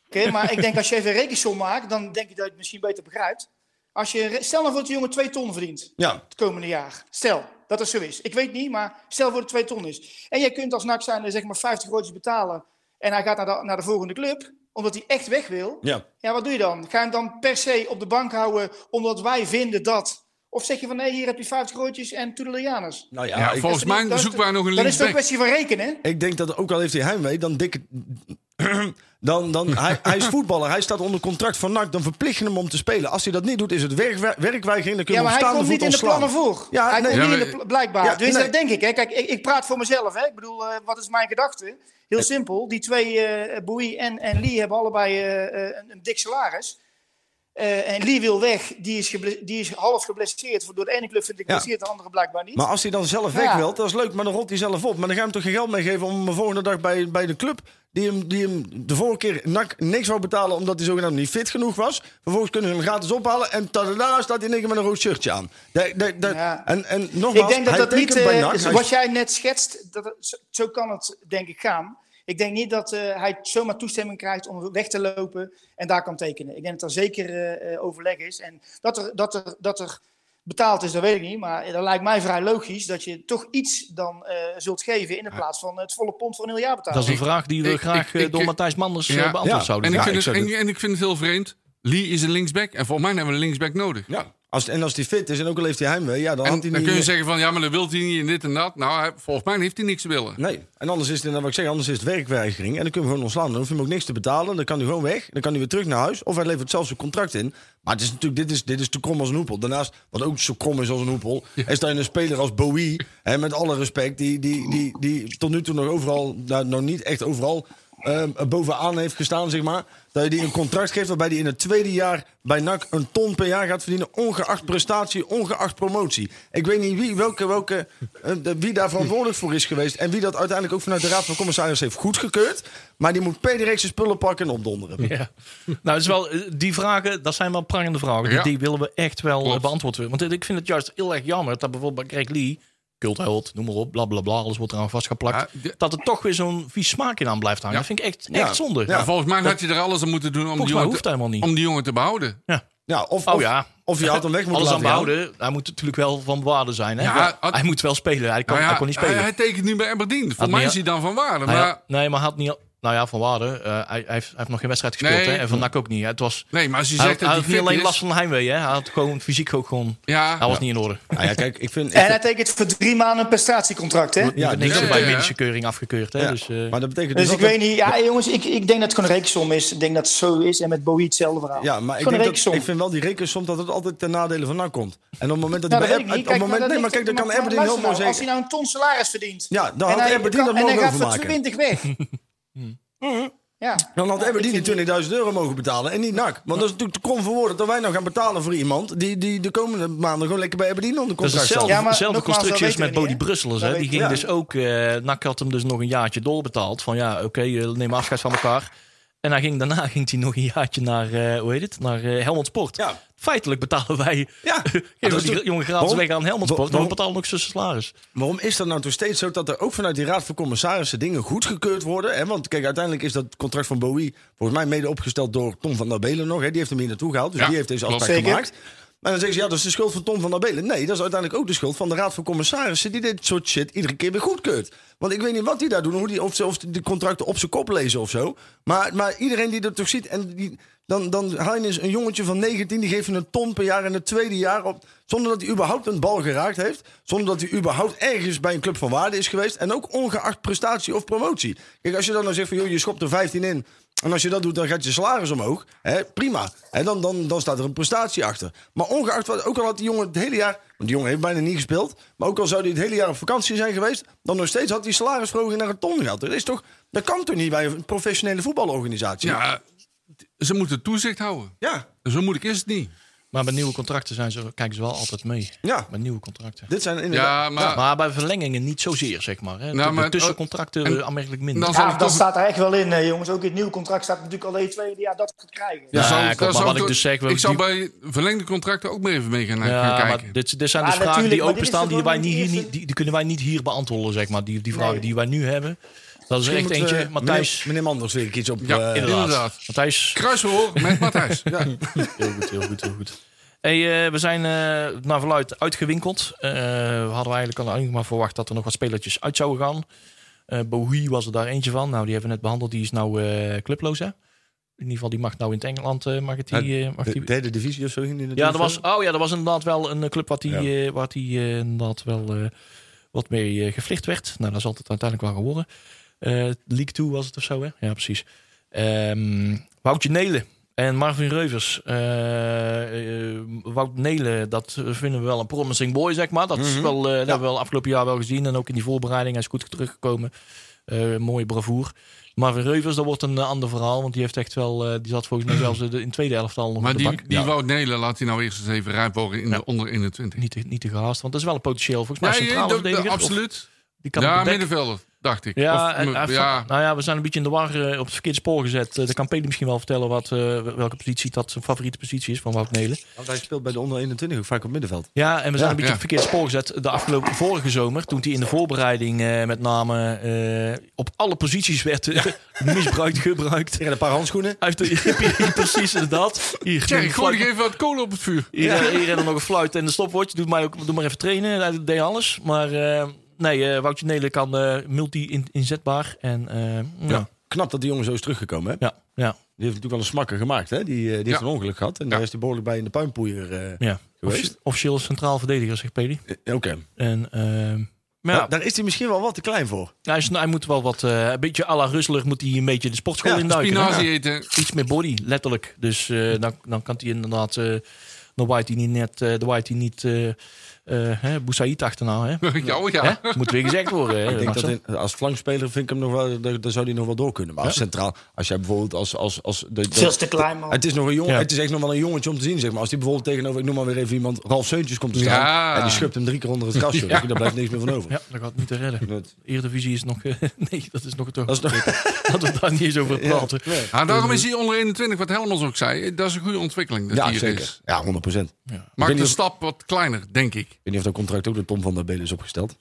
Oké, maar ik denk als je even een rekensom maakt, dan denk ik dat je het misschien beter begrijpt. Als je, re- stel nou voor dat die jongen twee ton verdient Ja, het komende jaar. Stel dat het zo is. Ik weet niet, maar stel voor dat het twee ton is. En jij kunt als NAC zijn zeg maar 50 roodjes betalen en hij gaat naar de, naar de volgende club, omdat hij echt weg wil. ja. Ja, wat doe je dan? Ga je hem dan per se op de bank houden omdat wij vinden dat? Of zeg je van nee, hier heb je 50 grootjes en Toedelianus? Nou ja, ja, ik, volgens mij zoeken wij nog een Dat is toch linksback. een kwestie van rekenen? hè? ik denk dat ook al heeft hij heimwee... dan dikke... [clears throat] Dan, dan, hij, hij is voetballer, hij staat onder contract van NAC, dan verplicht je hem om te spelen. Als hij dat niet doet, is het werk, werkweigering, dan kun je hem Ja, maar op hij staande komt voet niet in de ontslaan. plannen voor. Ja, hij nee. komt Ja, niet in maar- de pla- blijkbaar. Ja, dus nee. dat denk ik. Hè. Kijk, ik, ik praat voor mezelf. Hè. Ik bedoel, eh, wat is mijn gedachte? Heel simpel. Die twee, eh Boei en, en Lee, hebben allebei eh, eh, een, een dik salaris. Eh, en Lee wil weg. Die is, geble- die is half geblesseerd. Voor- Door de ene club vind ik Ja. geblesseerd, de andere blijkbaar niet. Maar als hij dan zelf Ja. weg wil, dat is leuk, maar dan rolt hij zelf op. Maar dan ga je hem toch geen geld meegeven om hem de volgende dag bij, bij de club... Die hem, die hem de vorige keer nak, niks wou betalen omdat hij zogenaamd niet fit genoeg was. Vervolgens kunnen ze hem gratis ophalen en tada, staat hij in één keer met een rood shirtje aan. Da- da- da- Ja. en, en Ik nogmaals, denk dat hij dat niet, tekent bij eh, NAC, hij is- wat jij net schetst, dat, het- zo- zo kan het denk ik gaan. Ik denk niet dat eh, hij zomaar toestemming krijgt om weg te lopen en daar kan tekenen. Ik denk dat er zeker eh, eh, overleg is. En dat er, dat, er, dat er betaald is, dat weet ik niet. Maar dat lijkt mij vrij logisch dat je toch iets dan eh, zult geven in de plaats van het volle pond voor een heel jaar betalen. Dat is een vraag die we ik- graag ik- eh, ik- door Matthijs Manders eh, Ja. beantwoord Ja. zouden En ik, Ja, vind ik het, zou en, dit- en ik vind het heel vreemd. Lee is een linksback. En volgens mij hebben we een linksback nodig. Ja. Als, en als hij fit is en ook al heeft hij heimwee, ja, dan En had hij dan niet... kun je zeggen van, ja, maar dat wil hij niet en dit en dat. Nou, hij- volgens mij heeft hij niks te willen. Nee, en anders is het, inderdaad wat ik zeg, anders is het werkweigering. En dan kun je hem gewoon ontslaan. Dan hoef je hem ook niks te betalen. Dan kan hij gewoon weg. Dan kan hij weer terug naar huis. Of hij levert zelfs zijn contract in. Maar het is natuurlijk, dit, is, dit is te krom als een hoepel. Daarnaast, wat ook zo krom is als een hoepel, is dat je een speler als Bowie, hè, met alle respect, die, die, die, die tot nu toe nog overal, nou, nog niet echt overal, ehm, bovenaan heeft gestaan, zeg maar. Dat je die een contract geeft waarbij die in het tweede jaar bij NAC een ton per jaar gaat verdienen. Ongeacht prestatie, ongeacht promotie. Ik weet niet wie, welke, welke, eh, de- wie daar verantwoordelijk voor is geweest. En wie dat uiteindelijk ook vanuit de Raad van Commissaris heeft goedgekeurd. Maar die moet per direct zijn spullen pakken en opdonderen. Ja. Nou, het is wel, eh, die vragen, dat zijn wel prangende vragen. Ja. Die willen we echt wel Klopt. eh, beantwoord worden. Want eh, ik vind het juist heel erg jammer dat bijvoorbeeld bij Greg Lee, cultheld, noem maar op, bla bla bla, alles wordt eraan vastgeplakt. Ja, de- dat er toch weer zo'n vies smaak in aan blijft hangen. Ja. Dat vind ik echt, Ja. echt zonde. Ja. Maar volgens mij had je er alles aan moeten doen om, die Volgens mij jongen, hoeft te, hij helemaal niet. om die jongen te behouden. Ja. Ja, of, Oh of, ja. of je had hem [laughs] weg moeten Alles aan laten gaan. behouden. Hij moet natuurlijk wel van waarde zijn. Hè? Ja, had- hij moet wel spelen. Hij kan, Nou ja, hij kon niet spelen. Hij, hij tekent nu bij Aberdeen. Voor mij meer- is hij dan van waarde. Nou maar, ja, nee, maar had niet. Nou ja, van waarde. eh, hij, hij, heeft, hij heeft nog geen wedstrijd gespeeld. Nee. Hè? En van Nak ook niet. hè. Het was, Nee, maar als je hij zegt had, hij dat had hij niet fit alleen is... last van heimwee. Hè? Hij had gewoon fysiek ook gewoon. Ja, Hij was niet in orde. Nou ja, kijk, ik vind... ik En vind- hij tekent voor drie maanden een prestatiecontract. Hè? ja, niks dus- is bij ja, ja. medische keuring afgekeurd. Hè? ja. Dus, eh, maar dat betekent Dus dus ik dat- weet niet, ja jongens, ik, ik denk dat het gewoon een rekensom is. Ik denk dat het zo is en met Bowie hetzelfde verhaal. Ja, maar ik, Gewoon denk een dat, rekensom. ik vind wel die rekensom dat het altijd ten nadele van NAC komt. En op het moment dat Nou, hij bij Ab- dat weet ik niet. op het Kijk, moment, nee, maar kijk, dan kan maar Aberdeen heel luister mooi nou, Als zeggen. hij nou een ton salaris verdient. Ja, dan en had hij Aberdeen kan- dat mogen En hij gaat voor overmaken. 20 [laughs] weg. Ja. Dan had Ja, ik Nou, Aberdeen vind die 20.000 euro mogen betalen en niet NAC. Want dat is natuurlijk te krom voor woorden dat wij nou gaan betalen voor iemand... die, die de komende maanden gewoon lekker bij Aberdeen onder dat is contract staat. hetzelfde, Ja, maar hetzelfde nogmaals, dat constructie als weten met we Bodie niet, hè? Brusselers. Dat Hè? Die ging weten we dus ook. eh Nak had hem dus nog een jaartje doorbetaald. Van ja, oké, eh, neem afscheid van elkaar. En hij ging, daarna [laughs] ging hij nog een jaartje naar, eh, hoe heet het? Naar eh, Helmond Sport. Ja. Feitelijk betalen wij. Ja. [laughs] Geven Maar dat we is die toch- jongen gratis Waarom? weg aan Helmond Wa- Sport. Dan waarom- betalen we ook zijn salaris. Waarom is dat nou toch steeds zo dat er ook vanuit die Raad van Commissarissen dingen goedgekeurd worden? Hè? Want kijk, uiteindelijk is dat contract van Bowie volgens mij mede opgesteld door Tom van der Belen nog. Hè? Die heeft hem hier naartoe gehaald, dus Ja, die heeft deze klopt. afspraak Zeker. gemaakt. Maar dan zeggen ze, ja, dat is de schuld van Tom van der Belen. Nee, dat is uiteindelijk ook de schuld van de Raad van Commissarissen... die dit soort shit iedere keer weer goedkeurt. Want ik weet niet wat die daar doen, hoe die, of, ze, of de contracten op zijn kop lezen of zo. Maar, maar iedereen die dat toch ziet... en die, dan, dan haal je eens een jongetje van 19, die geeft je een ton per jaar in het tweede jaar... Op, zonder dat hij überhaupt een bal geraakt heeft. Zonder dat hij überhaupt ergens bij een club van waarde is geweest. En ook ongeacht prestatie of promotie. Kijk, als je dan nou zegt van, joh, je schopt er 15 in... En als je dat doet, dan gaat je salaris omhoog. Hè, prima. Hè, dan, dan, dan staat er een prestatie achter. Maar ongeacht wat, ook al had die jongen het hele jaar. Want die jongen heeft bijna niet gespeeld. Maar ook al zou hij het hele jaar op vakantie zijn geweest. dan nog steeds had hij salarisverhoging naar een ton gehad. Dat, is toch, dat kan toch niet bij een professionele voetbalorganisatie? Ja, ze moeten toezicht houden. ja. Zo moeilijk is het niet. Maar met nieuwe contracten zijn ze, kijken ze wel altijd mee. Ja. Met nieuwe contracten. Dit zijn inderdaad. Ja, maar, Maar bij verlengingen niet zozeer, zeg maar. Hè. Nou, De- maar- de tussencontracten en- eh, aanmerkelijk minder. dan zal Ja, ik dat toch... staat er echt wel in, eh, jongens. Ook in het nieuwe contract staat natuurlijk E alleen tweede jaar dat gaat krijgen. dan Ja, zal- klopt, dan maar zal wat ik ik toch- dus zeg, Ik want zou die- bij verlengde contracten ook maar even mee gaan, gaan Ja, kijken. maar dit, dit zijn Ja, dus vragen die natuurlijk, maar dit is openstaan die toch wij gewoon niet, de hier, eerste- niet, die, die kunnen wij niet hier beantwoorden, zeg maar. Die, die vragen Nee. die wij nu hebben. Dat is echt moet, eentje. eh, Matthijs, Meneer, meneer Manders wil ik iets op. Ja, eh, inderdaad. inderdaad. Matthijs, Kruisverhoor met Matthijs. [laughs] Heel goed, heel goed, heel goed. Hey, eh, we zijn eh, naar verluid uitgewinkeld. Eh, we hadden eigenlijk al eigenlijk maar verwacht dat er nog wat spelertjes uit zouden gaan. Eh Bowie was er daar eentje van. Nou, die hebben we net behandeld. Die is nou eh, clubloos, hè? In ieder geval, die mag nou in het Engeland. eh, mag het die, eh, mag de die... derde divisie of zo ging die Ja, natuurlijk er was, van. oh ja, er was inderdaad wel een eh, club wat die, eh, waar die eh, inderdaad wel eh, wat mee eh, gevlicht werd. Nou, dat is altijd uiteindelijk wel geworden. Eh, League 2 was het of zo, hè? Ja, precies. Ehm, Woutje Nelen en Marvin Reuvers. Eh, eh, Wout Nelen, dat vinden we wel een promising boy, zeg maar. Dat, Mhm. is wel, eh, dat hebben we wel afgelopen jaar wel gezien. En ook in die voorbereiding, hij is goed teruggekomen. Eh, mooie bravoer. Marvin Reuvers, dat wordt een eh, ander verhaal. Want die heeft echt wel, eh, die zat volgens [clears throat] mij zelfs eh, de- in het tweede elftal nog Maar op de die, bank. die Ja Wout Nelen laat hij nou eerst eens even rijp worden in de onder 21. niet te, niet te gehaast. Want dat is wel een potentieel volgens mij Nee, centrale dat- dat- verdediger. Of absoluut. Die kan op Ja, het dek. middenvelder, dacht ik. Ja, Of, eh, en m- hij heeft- ja, nou ja, we zijn een beetje in de war eh, op het verkeerde spoor gezet. Eh, dan kan Peli misschien wel vertellen wat, eh, welke positie dat zijn favoriete positie is van Wout Nelen. Want hij speelt bij de onder 21 ook vaak op middenveld. Ja, en we zijn een beetje ja. op het verkeerd spoor gezet de afgelopen vorige zomer. Toen hij in de voorbereiding eh, met name eh, op alle posities werd eh, [laughs] misbruikt, gebruikt. Tegen een paar handschoenen. Hij heeft [laughs] de, precies inderdaad. Hier, neem Tjerk, een gooi fluit- nog even wat kolen op het vuur. Hier, eh, hier rennen nog een fluit en een stopwoordje. Doe maar, ook, doe maar even trainen. Hij deed alles. Maar eh, nee, eh Woutje Nelen kan eh, multi-inzetbaar. En eh, ja. Ja. Knap dat die jongen zo is teruggekomen. Hè? Ja, ja, Die heeft natuurlijk wel een smakker gemaakt. Hè? Die, eh, die heeft een ongeluk gehad. En daar is hij behoorlijk bij in de puinpoeier eh, ja. geweest. Offici- Officieel centraal verdediger, zegt Peli. Eh, Oké. En ehm, maar Ja. ja, daar is hij misschien wel wat te klein voor. hij, is, hij moet wel wat, eh, een beetje à la Rustler moet hij een beetje de sportschool Oh, Ja, induiken. hè? Spinazie eten. [laughs] Iets meer body, letterlijk. Dus eh, dan, dan kan hij inderdaad, eh, dan waait hij niet net, eh, dan waait hij niet eh eh, hè, Boussaïd achterna. Hè? Ja, oh Hè? ja. Moet weer gezegd worden. Hè? Ik denk dat Marcel? in- als flankspeler vind ik hem nog wel, daar, daar zou hij nog wel door kunnen. Maar als centraal, als jij bijvoorbeeld als... als, als de, de- Veel te klein, man. het is, nog een jong, Ja. het is echt nog wel een jongetje om te zien, zeg maar. Als die bijvoorbeeld tegenover, ik noem maar weer even iemand, Ralf Seuntjes komt te staan. Ja. En die schubt hem drie keer onder het gras. joh. Daar blijft niks meer van over. Ja, dat gaat niet te redden. Dat- Eredivisie is nog... eh, [laughs] nee, dat is nog toch... Dat is nog- [laughs] dat we daar niet eens over praten. Ja, Ja, daarom is die onder 21, wat Helmans ook zei. eh, Dat is een goede ontwikkeling. Dat Ja, die er zeker. Is. Ja, 100 procent. Ik weet Maakt niet de of- stap wat kleiner, denk ik. [laughs] Ik weet niet of dat contract ook door Tom van der Belen is opgesteld.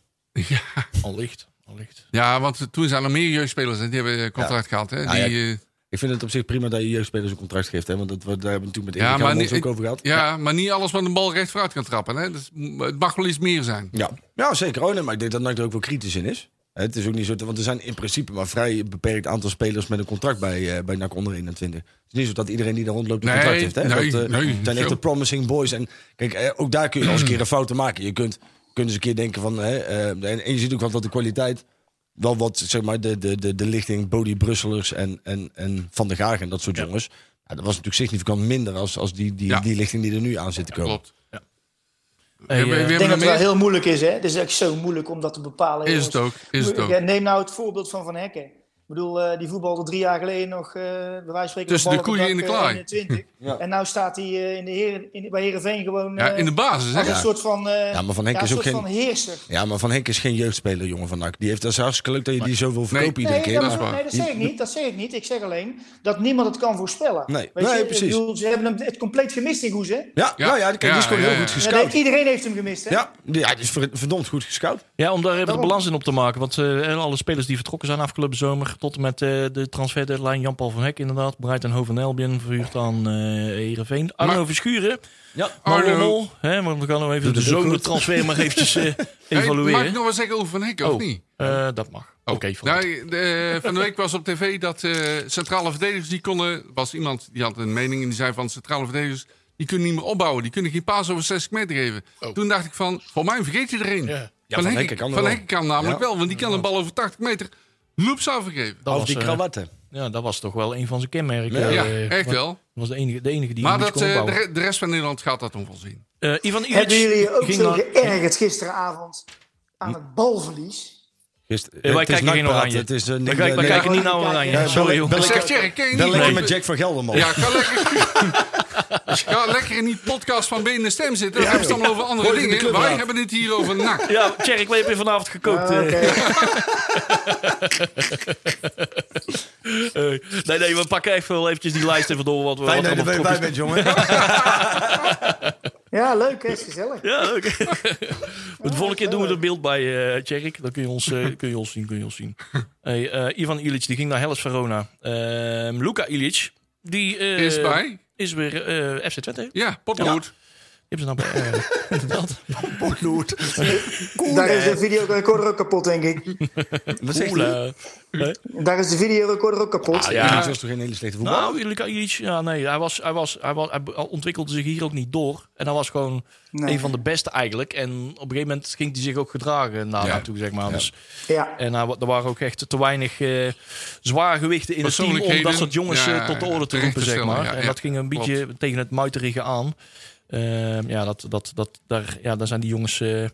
Allicht, allicht. Ja, want toen zijn er meer jeugdspelers en die hebben eh, contract gehad. Hè? Nou ja, Die, eh, Ik vind het op zich prima dat je jeugdspelers een contract geeft. Hè? Want dat, we- daar hebben we natuurlijk met Ja, Erik maar Helmond niet- ook over gehad. ja, maar niet alles wat een bal recht vooruit kan trappen. Hè? Dus, m- het mag wel iets meer zijn. Ja. ja, zeker. Oh, nee, maar ik denk dat NAC er ook wel kritisch in is. Het is ook niet zo, te- want er zijn in principe maar vrij beperkt aantal spelers met een contract bij, eh, bij NAC onder 21. Het is niet zo dat iedereen die daar rondloopt een Nee, contract heeft. Hè? nee, dat, eh, nee, het zijn echt zo. de promising boys. En kijk, eh, ook daar kun je als een keer een fouten maken. Je kunt, kunt eens een keer denken van, hè, eh, en, en je ziet ook wel dat de kwaliteit wel wat, zeg maar, de, de, de, de lichting Bodie Brusselers en, en, en Van der Gaag en dat soort jongens. Ja, dat was natuurlijk significant minder als, als die, die, Ja. die lichting die er nu aan zit te komen. Klopt. Hey, we, we eh, Ik denk hebben dat er het wel meer. heel moeilijk is, hè? Het is echt zo moeilijk om dat te bepalen. Is jongens. het ook. Is het ook. Ja, neem nou het voorbeeld van Van Hekken. Ik bedoel, eh, die voetbalde drie jaar geleden nog, eh bij wijze van spreken... Tussen de ballen koeien in de op dak, eh, klaai. [laughs] 21. Ja. En nou staat hij eh, in de Heren, in, bij Herenveen gewoon Ja, eh, in de basis. Hè? als een soort van, eh, Ja, maar Van Hekken ja, is ook een soort geen- van heerser. Ja, maar Van Henk is geen jeugdspeler, jongen van NAC. Die heeft dat is hartstikke leuk dat je die zo wil verkopen Nee. iedere Nee, keer. dat, is waar. nee, dat zeg ik niet. Dat zeg ik niet. Ik zeg alleen dat niemand het kan voorspellen. Nee. Weet Nee, je, precies. Ik bedoel, ze hebben hem het compleet gemist in Goes, hè? Ja, Ja. ja. ja, die, die is gewoon Ja, ja, heel goed ja. Ja, nee, gescout. Ja, iedereen heeft hem gemist, hè? die, ja, die is ver- verdomd goed gescout. Ja, om daar even de Daarom. balans in op te maken. Want eh, alle spelers die vertrokken zijn afgelopen zomer, tot en met eh, de transferdeadline. Jan-Paul van Hek inderdaad. Brighton Hoven Albion verhuurd aan eh Ereveen. Arno Maar- Verschuren. Ja, Arno. Arno. Hè, maar we gaan hem even Doet de het ook goed. zomertransfer maar eventjes eh, [laughs] Hey, mag [laughs] ik evalueren. nog wat zeggen over Van Hek, of Oh. niet? Eh, dat mag. Oké, van Nou, de- van de week was op tv dat eh, centrale verdedigers die konden. was iemand die had een mening en die zei van centrale verdedigers. die kunnen niet meer opbouwen. Die kunnen geen paas over 60 meter geven. Toen dacht ik van. voor mij vergeet je erin. Ja. Ja, Van Hekken kan er wel. namelijk Ja. wel, want die kan een bal over 80 meter. loops afgeven. dat, of was, die eh, krawatten. ja, dat was toch wel een van zijn kenmerken. Ja, ja, eh, echt want- wel. was de enige, de enige die Maar hem iets dat, kon eh, de, opbouwen. re- de rest van Nederland gaat dat onvolzien. Eh, Ivan Illich Hebben jullie je ook ging zo naar- geërgerd gisteravond aan het balverlies? Eh, Gisteren, wij het is kijken geen nakpraat, oranje. Het is, eh, We niet- kijken, we nee, kijken nee. niet naar Oranje. Ja, Sorry, joh. bel ik- Zeg Jerry, ken je Bel niet? lekker Nee. met Jack van Gelderman. Ja, ga lekker, ga lekker [laughs] in die podcast van Benen Stem zitten. Dan hebben ze het allemaal over andere Gooi het in de dingen. Wij clubraad. hebben het hier over NAC. Ja, Tjerk, we hebben je vanavond gekookt. Ah, eh. oké. Eh, nee, nee, we pakken even wel eventjes die lijst even door. Wat, we- wat Fijn dat je allemaal er bij betrokken bent, jongen. Ja, leuk hè, is gezellig. is. Ja, leuk. Maar [laughs] de volgende keer doen we er beeld bij, eh Tjerk. Dan kun je ons, eh, kun je ons zien. Kun je ons [laughs] zien. Hey, eh, Ivan Ilic, die ging naar Hellas Verona. Ehm Luka Ilic, die eh, Is bij. is weer eh, FC Twente. Die Ja, potlood. hebben ze nou bij... eh, [laughs] [laughs] inderdaad. Daar is de videorecorder ook kapot, denk ik. Wat zegt hij? Oeh, eh, Daar is de videorecorder ook kapot. Ah, Ja. ja. Dat was toch geen hele slechte voetbal? Nou, Luka Ilic, ja, nee, hij, was, hij, was, hij, was, hij be- ontwikkelde zich hier ook niet door. En hij was gewoon Nee. een van de beste eigenlijk. En op een gegeven moment ging hij zich ook gedragen naar Ja. naartoe, zeg maar. Dus, Ja. en hij, wa- er waren ook echt te weinig eh zwaar gewichten in het team om dat soort jongens Ja, eh, tot de orde te terecht roepen, te zeg stellen, maar. ja, en ja, dat ging een klopt. beetje tegen het muiterige aan. Ehm, ja, dat, dat, dat, daar, ja, daar zijn die jongens, eh,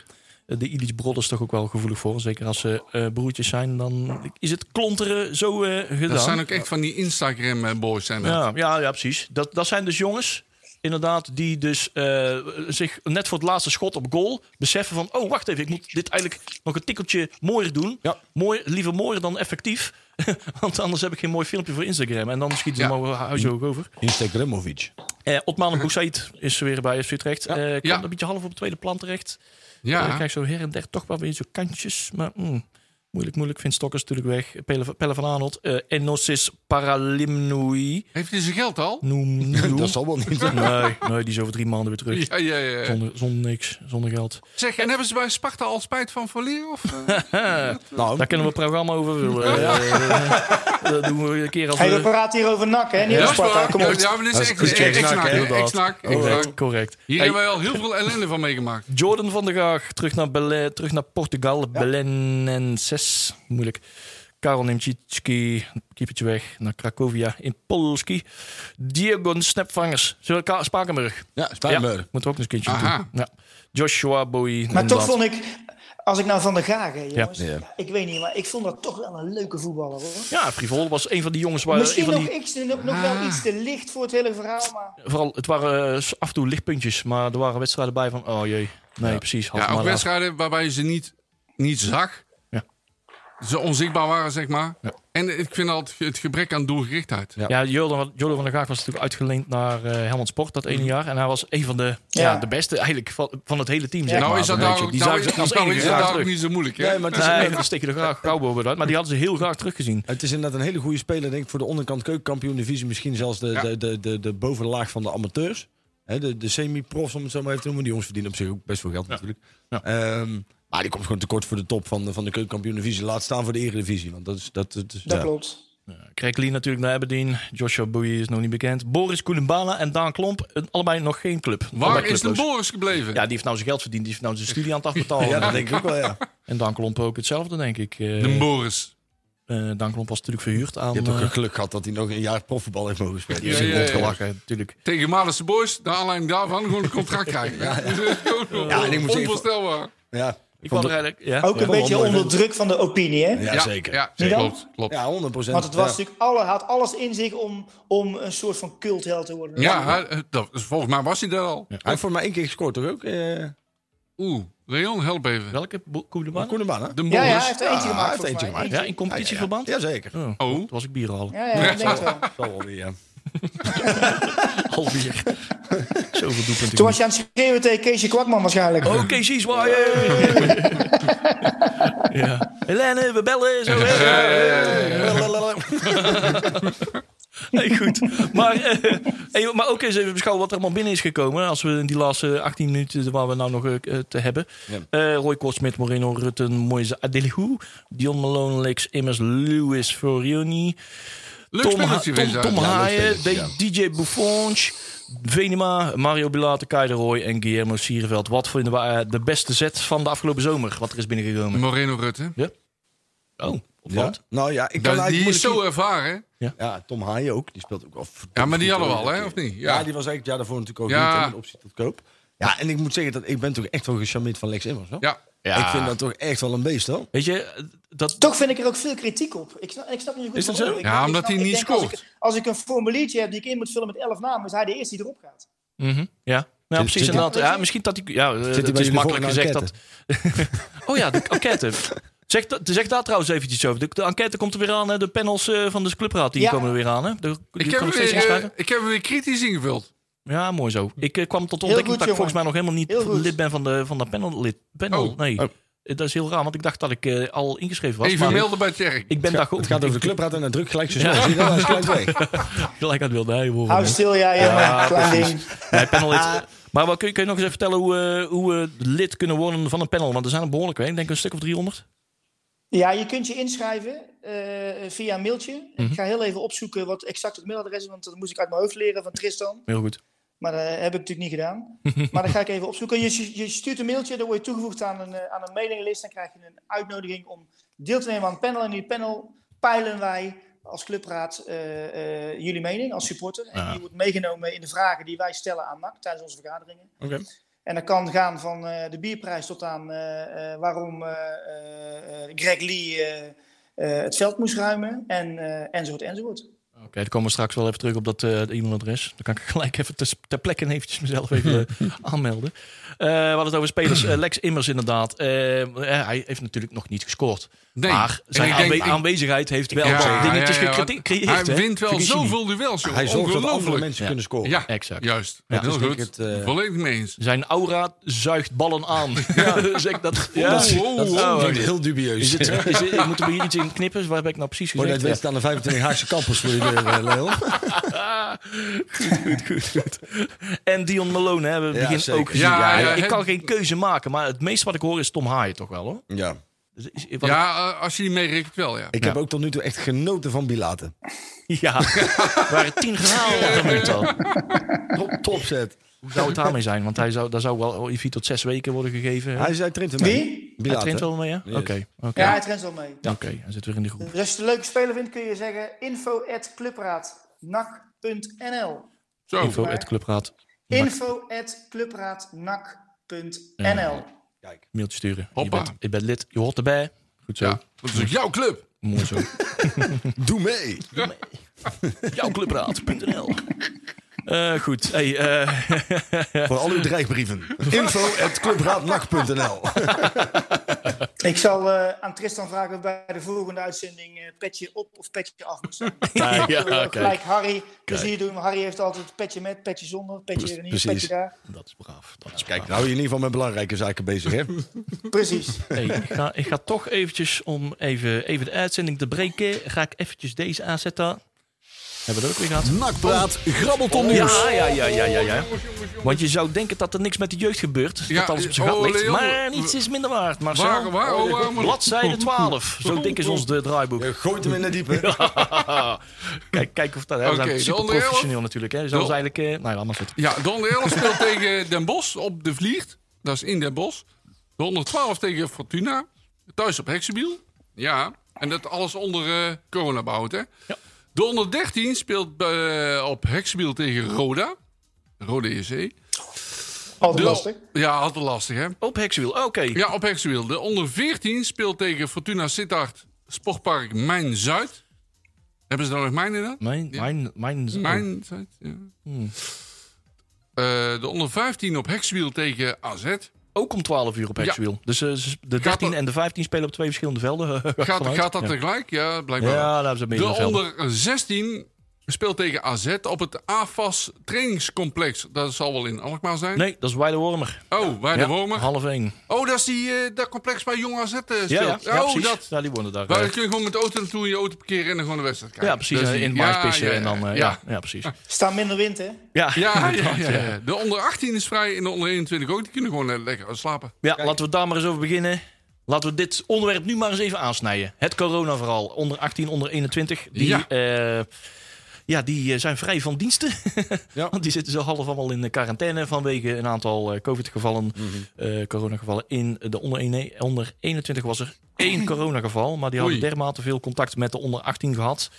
de Ilic Brothers, toch ook wel gevoelig voor. Zeker als ze eh, broertjes zijn, dan is het klonteren zo eh, gedaan. Dat zijn ook echt van die Instagram-boys. zijn dat. Ja, ja, ja precies. Dat, dat zijn dus jongens, inderdaad, die dus eh, zich net voor het laatste schot op goal beseffen van... oh, wacht even, ik moet dit eigenlijk nog een tikkeltje mooier doen. Ja. Mooi, liever mooier dan effectief. [laughs] Want anders heb ik geen mooi filmpje voor Instagram. En dan schieten ze Ja. maar huisje ook over. Instagramovic. Eh Otman Boussaid is weer bij FC Utrecht. Eh komt Ja. een beetje half op het tweede plan terecht. Ja. Ik krijg zo her en der toch wel weer zo kantjes. Maar mm, moeilijk, moeilijk. Vindt Stokkers natuurlijk weg. Pelle, Pelle van Arnold. Eh Enosis Paralimnoui. Heeft hij zijn geld al? [laughs] Noem, noem. Dat zal wel niet. Nee, nee, die is over drie maanden weer terug. Ja, ja, ja. Zonder, zonder niks, zonder geld. Zeg, en hebben ze bij Sparta al spijt van verlier? Of, eh? Nou, Daar kunnen we een programma [laughs] over vullen. Eh, dat doen we een keer als Hey, we we... praten hier over NAC, hè? Niet Ja, over dat is Sparta, waar. kom op. Ja, maar dit Dat is is echt goed, echt kijk, snak, snak, hè? hè? Echt snak, echt Correct, snak. correct. Hier Oh, Hey, hebben wij al heel veel ellende van meegemaakt. Jordan van der Gaag, terug naar, Bele- terug naar Portugal. Belenenses, moeilijk. Karel Nemczycki, keepertje weg naar Cracovia in Polski. Diego Snapvangers, Zullen we Ka- Spakenburg. ja, Ja, Spakenburg. moeten we ook nog eens een keertje Aha. doen. Ja. Joshua Bowie. Maar toch inderdaad. vond ik, als ik nou van de Gaag, hè, jongens. Ja. Ik weet niet, maar ik vond dat toch wel een leuke voetballer, hoor. Ja, Frivol was een van die jongens waar... Misschien een van nog, die... iets, nog, nog wel iets te licht voor het hele verhaal, maar... Vooral, het waren eh, af en toe lichtpuntjes, maar er waren wedstrijden bij van, oh jee, nee, precies. Had Ja, het ook maar laten. wedstrijden waarbij je ze niet, niet zag. Ja. Ze onzichtbaar waren, zeg maar. En ik vind altijd het gebrek aan doelgerichtheid. Ja. Ja, Jordan, Jordan van der Gaag was natuurlijk uitgeleend naar eh Helmond Sport dat Mhm. ene jaar. En hij was een van de, ja. Ja. de beste eigenlijk van, van het hele team. Zeg Nou maar, is dat een daar beetje. ook, Die nou zagen is, ze als nou enige is dat graag daar ook terug. niet zo moeilijk. Hè? Nee, maar het is, Nee, dat steken er graag gauw bovenuit. Maar die hadden ze heel graag teruggezien. het is inderdaad een hele goede speler, denk ik, voor de onderkant keukenkampioen divisie. Misschien zelfs de, Ja. de, de, de, de bovenlaag van de amateurs. Hè, de de semi-profs, om het zo maar even te noemen. Die jongens verdienen op zich ook best veel geld natuurlijk. Ja. Ehm, maar die komt gewoon tekort voor de top van de, van de keukenkampioen divisie. Laat staan voor de eredivisie. Want dat is... Dat, dat, is- Dat ja. klopt. Krekli natuurlijk naar Aberdeen. Joshua Boeie is nog niet bekend. Boris Koelembala en Daan Klomp, eh, allebei nog geen club. Waar Allebei is de clubloos. Boris gebleven? dus. Ja, die heeft nou zijn geld verdiend. Die heeft nou zijn studie aan [laughs] het afbetalen. Ja, dat denk ik ook wel, ja. En Daan Klomp ook hetzelfde, denk ik. Eh, De Boris. Eh Daan Klomp was natuurlijk verhuurd aan... Je hebt ook eh, een geluk gehad dat hij nog een jaar profvoetbal heeft mogen spelen. Ja, Dus ik ja, word ja. gelachen. gelachen, natuurlijk. Tegen Malense Boys, naar aanleiding daarvan, gewoon een contract krijgen. [laughs] Dus Ja, Ja, en ik moet zeggen- Onvoorstelbaar. Ja. Ik wou er eigenlijk... Ja, Oh. Ook ja. een beetje mooi onder vent. druk van de opinie, hè? Ja, zeker. Ja, Zie je dan? klopt, klopt. Ja, 100 procent. Want het was natuurlijk alle, had alles in zich om, om een soort van cultheld te worden. Ja, eh, dat, volgens mij was hij daar al. Hij heeft voor mij één keer gescoord, toch ook? Eh Oeh, Leon, help even. Welke? Bo- Koeleman? Koeneman, hè? De Boris. ja, hij heeft er eentje Ja, gemaakt. hij heeft volgens eentje mij. gemaakt. Ja, in competitieverband? Ja, zeker. Oh, Oh. toen was ik bier al. Ja, ja, ik denk het wel. Zal wel weer, ja. Al [laughs] bier. Zoveel doelpunten. Toen was je aan het schreeuwen tegen Keesje Kwakman waarschijnlijk. Oh, Casey zwaaien! Ja. Helene, we bellen. Zo, hè. [laughs] Hey, goed. Maar, eh, hey, maar ook eens even beschouwen wat er allemaal binnen is gekomen. Als we in die laatste 18 minuten waar we nou nog eh, te hebben. Eh, Roy Kortsmit, Moreno, Rutten, Moise Adelihu. Dion Malone, Lex Immers, Louis Forioni. Leuk Tom, Ha- spelletje Tom, vind Tom Haaien, spelletje, ja. D- DJ Buffonge, Venema, Mario Bilate, Kai de Roy en Guillermo Sierenveld. Wat vinden we eh, de beste set van de afgelopen zomer? Wat er is binnengekomen? Moreno Rutte. Oh, of Ja? wat? Nou ja, ik kan Dat, die eigenlijk is zo moeilijk- ervaren. Ja, Tom Haaien ook. Die speelt ook. al verdomd Ja, maar die goed, hadden we hoor. al, hè? Of niet? Ja. Ja. die was eigenlijk ja, daarvoor natuurlijk ook Ja. niet hè, met optie tot koop. Ja, en ik moet zeggen dat ik ben toch echt wel gecharmeerd van Lex Immers. Hoor. Ja. Ik vind dat toch echt wel een beest, hoor. Weet je, eh, dat, Toch vind ik er ook veel kritiek op. Ik snap, ik snap niet zo goed Is dat waarom. zo? Ik- Ja, ik omdat snap- hij ik niet denk als scoort. ik- Als ik een formuliertje heb die ik in moet vullen met elf namen, is hij de eerste die erop gaat. Mhm, Ja. Nou, Zit- precies zit- inderdaad. Ja, misschien dat ik... Ja, eh, bij het is jullie makkelijk voor een gezegd dat... [laughs] oh ja, de enquête. Zeg, dat- zeg daar trouwens eventjes over. De, de enquête komt er weer aan. Hè. De panels eh, van de clubraad die Ja. komen er weer aan. Hè. De- die Ik heb, kan hem ik steeds weer, eh, inschrijven. ik heb hem weer kritisch ingevuld. Ja, mooi zo. Ik eh, kwam tot de Heel ontdekking goed, dat ik volgens mij jongen. nog helemaal niet Heel goed. lid ben van de, van de panel. Lid. panel Oh. Nee, Oh. Eh, dat is heel raar, want ik dacht dat ik eh, al ingeschreven was. Even maar melden bij Tjerk. Ik ben daar Het gaat over de clubraad en dan druk gelijk zo snel. Ja. Zie je dat? Hij is gelijk weg. Gelijk uit wilde hij Hou stil, ja, ja, Ja, klein precies. ding. Nee, panel lid. Maar wat, kun, je, kun je nog eens even vertellen hoe, eh, hoe we lid kunnen worden van een panel? Want er zijn er behoorlijk, hè. ik denk een stuk of 300. Ja, je kunt je inschrijven eh, via een mailtje. Ik ga heel even opzoeken wat exact het mailadres is, want dat moest ik uit mijn hoofd leren van Tristan. Heel goed. Maar dat heb ik natuurlijk niet gedaan. maar dat ga ik even opzoeken. Je, je stuurt een mailtje, dan word je toegevoegd aan een, eh, aan een mailinglist. Dan krijg je een uitnodiging om deel te nemen aan een panel. En in die panel peilen wij als clubraad eh, eh, jullie mening als supporter. En die wordt meegenomen in de vragen die wij stellen aan NAC tijdens onze vergaderingen. Oké. En dat kan gaan van eh, de bierprijs tot aan eh, eh, waarom eh, eh, eh, Greg Lee eh, eh, het veld moest ruimen. En, eh enzovoort, enzovoort. Oké, dan komen we straks wel even terug op dat eh, e-mailadres. Dan kan ik [laughs] gelijk even ter, ter plekke eventjes mezelf even eh, aanmelden. Eh, we hadden het over spelers. Eh, Lex Immers inderdaad. Eh, eh, hij heeft natuurlijk nog niet gescoord. Nee. Maar En zijn ik denk- aanwe- ik- aanwezigheid heeft wel Ja, wat dingetjes ja, ja, want gecreëerd. Hij hè? wint wel Vergis je niet. zoveel duels, jongen. Hij zorgt dat andere Ongelooflijk. mensen Ja. kunnen scoren. Ja, Exact. juist. Ja, heel dus denk goed. ik het, eh, Volledig mee eens. Zijn aura zuigt ballen aan. [laughs] zeg dat. Ja. Dat is, Oh, dat is oh, oh. heel Is dubieus. het, is het- ik moet er hier iets in knippen. Waar heb ik nou precies Voor je gezegd? dat weet staan er 25 Haagse kampers voor je deur, eh, Leon. goed, goed, goed. En Dion Malone hebben we Ja, begin zeker. ook gezien. Ja, Ja, ja, ik het- kan geen keuze maken, maar het meeste wat ik hoor is Tom Haaien toch wel hoor. Ja. Dus is- wat- Ja, eh, als je die meerekent wel, ja. Ik heb ook tot nu toe echt genoten van Bilaten. [laughs] ja. Er waren tien graden op de minuut al. Top, topzet. Hoe zou het daarmee zijn? Want hij zou, daar zou wel oh, vier tot zes weken worden gegeven. Hij, Hij zei, traint hem Wie? traint wel mee, hè? Oké, Yes. oké. Ja, hij traint wel mee. Oké, hij zit weer in de groep. Dus als je het een leuke speler vindt, kun je zeggen info@clubraadnak.nl. Zo. Info at clubraad. info@clubraadnak.nl. Mailtje sturen. Hoppa. Je bent, je bent lid. Je hoort erbij. Goed zo. Ja, dat is ook jouw club. Mooi [laughs] zo. Doe mee. Jouwclubraad.nl Eh, Goed. Hey, eh, Voor al uw dreigbrieven. [laughs] Info at clubraadnak.nl Ik zal eh, aan Tristan vragen of bij de volgende uitzending eh, petje op of petje af moet zijn. [laughs] ja, Ik wil ook kijk. gelijk Harry plezier doen. Harry heeft altijd petje met, petje zonder, petje er niet, precies. petje daar. dat is braaf. Dat is Kijk, braaf. nou je in ieder geval met belangrijke zaken bezig, hè? [laughs] Precies. Hey, ik, ga, ik ga toch eventjes, om even, even de uitzending te breken, ga ik eventjes deze aanzetten. Hebben we dat ook weer gehad? Nakpraat, grabbelton nieuws. Ja, ja, ja, ja, ja, ja. Want je zou denken dat er niks met de jeugd gebeurt. Ja, dat alles op zijn oh, gat ligt. Leo. maar niets is minder waard, Marcel. Waar, waar, oh, waar moet- [laughs] Bladzijde 12. Zo dik is ons de draaiboek. Je gooit hem in de diepe. Kijk, kijk of dat... hè, We Oké, zijn de super onder elf. professioneel natuurlijk. Hè. Dus dat is De- eigenlijk... eh, nou ja, laat maar zitten. Ja, de 111 speelt [laughs] tegen Den Bosch op de Vliert. Dat is in Den Bosch. De 112 tegen Fortuna. Thuis op Hexabiel. Ja, en dat alles onder eh corona behoud, hè? De 113 speelt eh, op Hexabiel tegen Roda. Roda JC. Altijd De, lastig. ja, altijd lastig, hè? Op Hexwiel, oké. Ja, op Hexabiel. De onder 14 speelt tegen Fortuna Sittard Sportpark Mijn Zuid. Hebben ze daar nog mijn in dan? Mijn, mijn, mijn, Mijn tijd, ja. Mm. Eh, de onder 15 op hekswiel tegen AZ. Ook om 12 uur op Hexwiel. Dus eh, ze- de 13 dat- en de 15 spelen op twee verschillende velden. [laughs] Gaat, Vanuit. gaat dat ja. tegelijk? Ja, blijkbaar. Ja, wel. daar hebben ze de meerdere velden. onder 16 Gespeeld tegen AZ op het AFAS trainingscomplex. Dat zal wel in Alkmaar zijn. Nee, dat is Weide Wormer. Oh, bij de Ja, Wormer. Half één. Oh, dat is die, eh, dat complex waar Jong AZ eh, speelt. Ja, ja, ja, oh, precies. dat. Ja, die wonen daar. Waar eh, kun je gewoon met de auto naartoe je auto parkeren en dan gewoon de wedstrijd kijken. ja, precies. Dat is eh, Dus die- in het ja, maïspissen ja, en dan... eh, ja. ja, precies. Staan minder wind, hè? Ja, [laughs] Ja, ja, inderdaad, ja, ja. De onder 18 is vrij en de onder 21 ook. Die kunnen gewoon eh, lekker slapen. Ja, laten we daar maar eens over beginnen. Laten we dit onderwerp nu maar eens even aansnijden. Het corona vooral. Onder 18, onder 21. Die, Ja. ja. ja, die eh, zijn vrij van diensten. [laughs] Want die zitten zo half allemaal in de quarantaine vanwege een aantal eh, COVID-gevallen, eh, coronagevallen. In de onder, een- onder 21 was er één coronageval, maar die hadden Oei. dermate veel contact met de onder 18 gehad.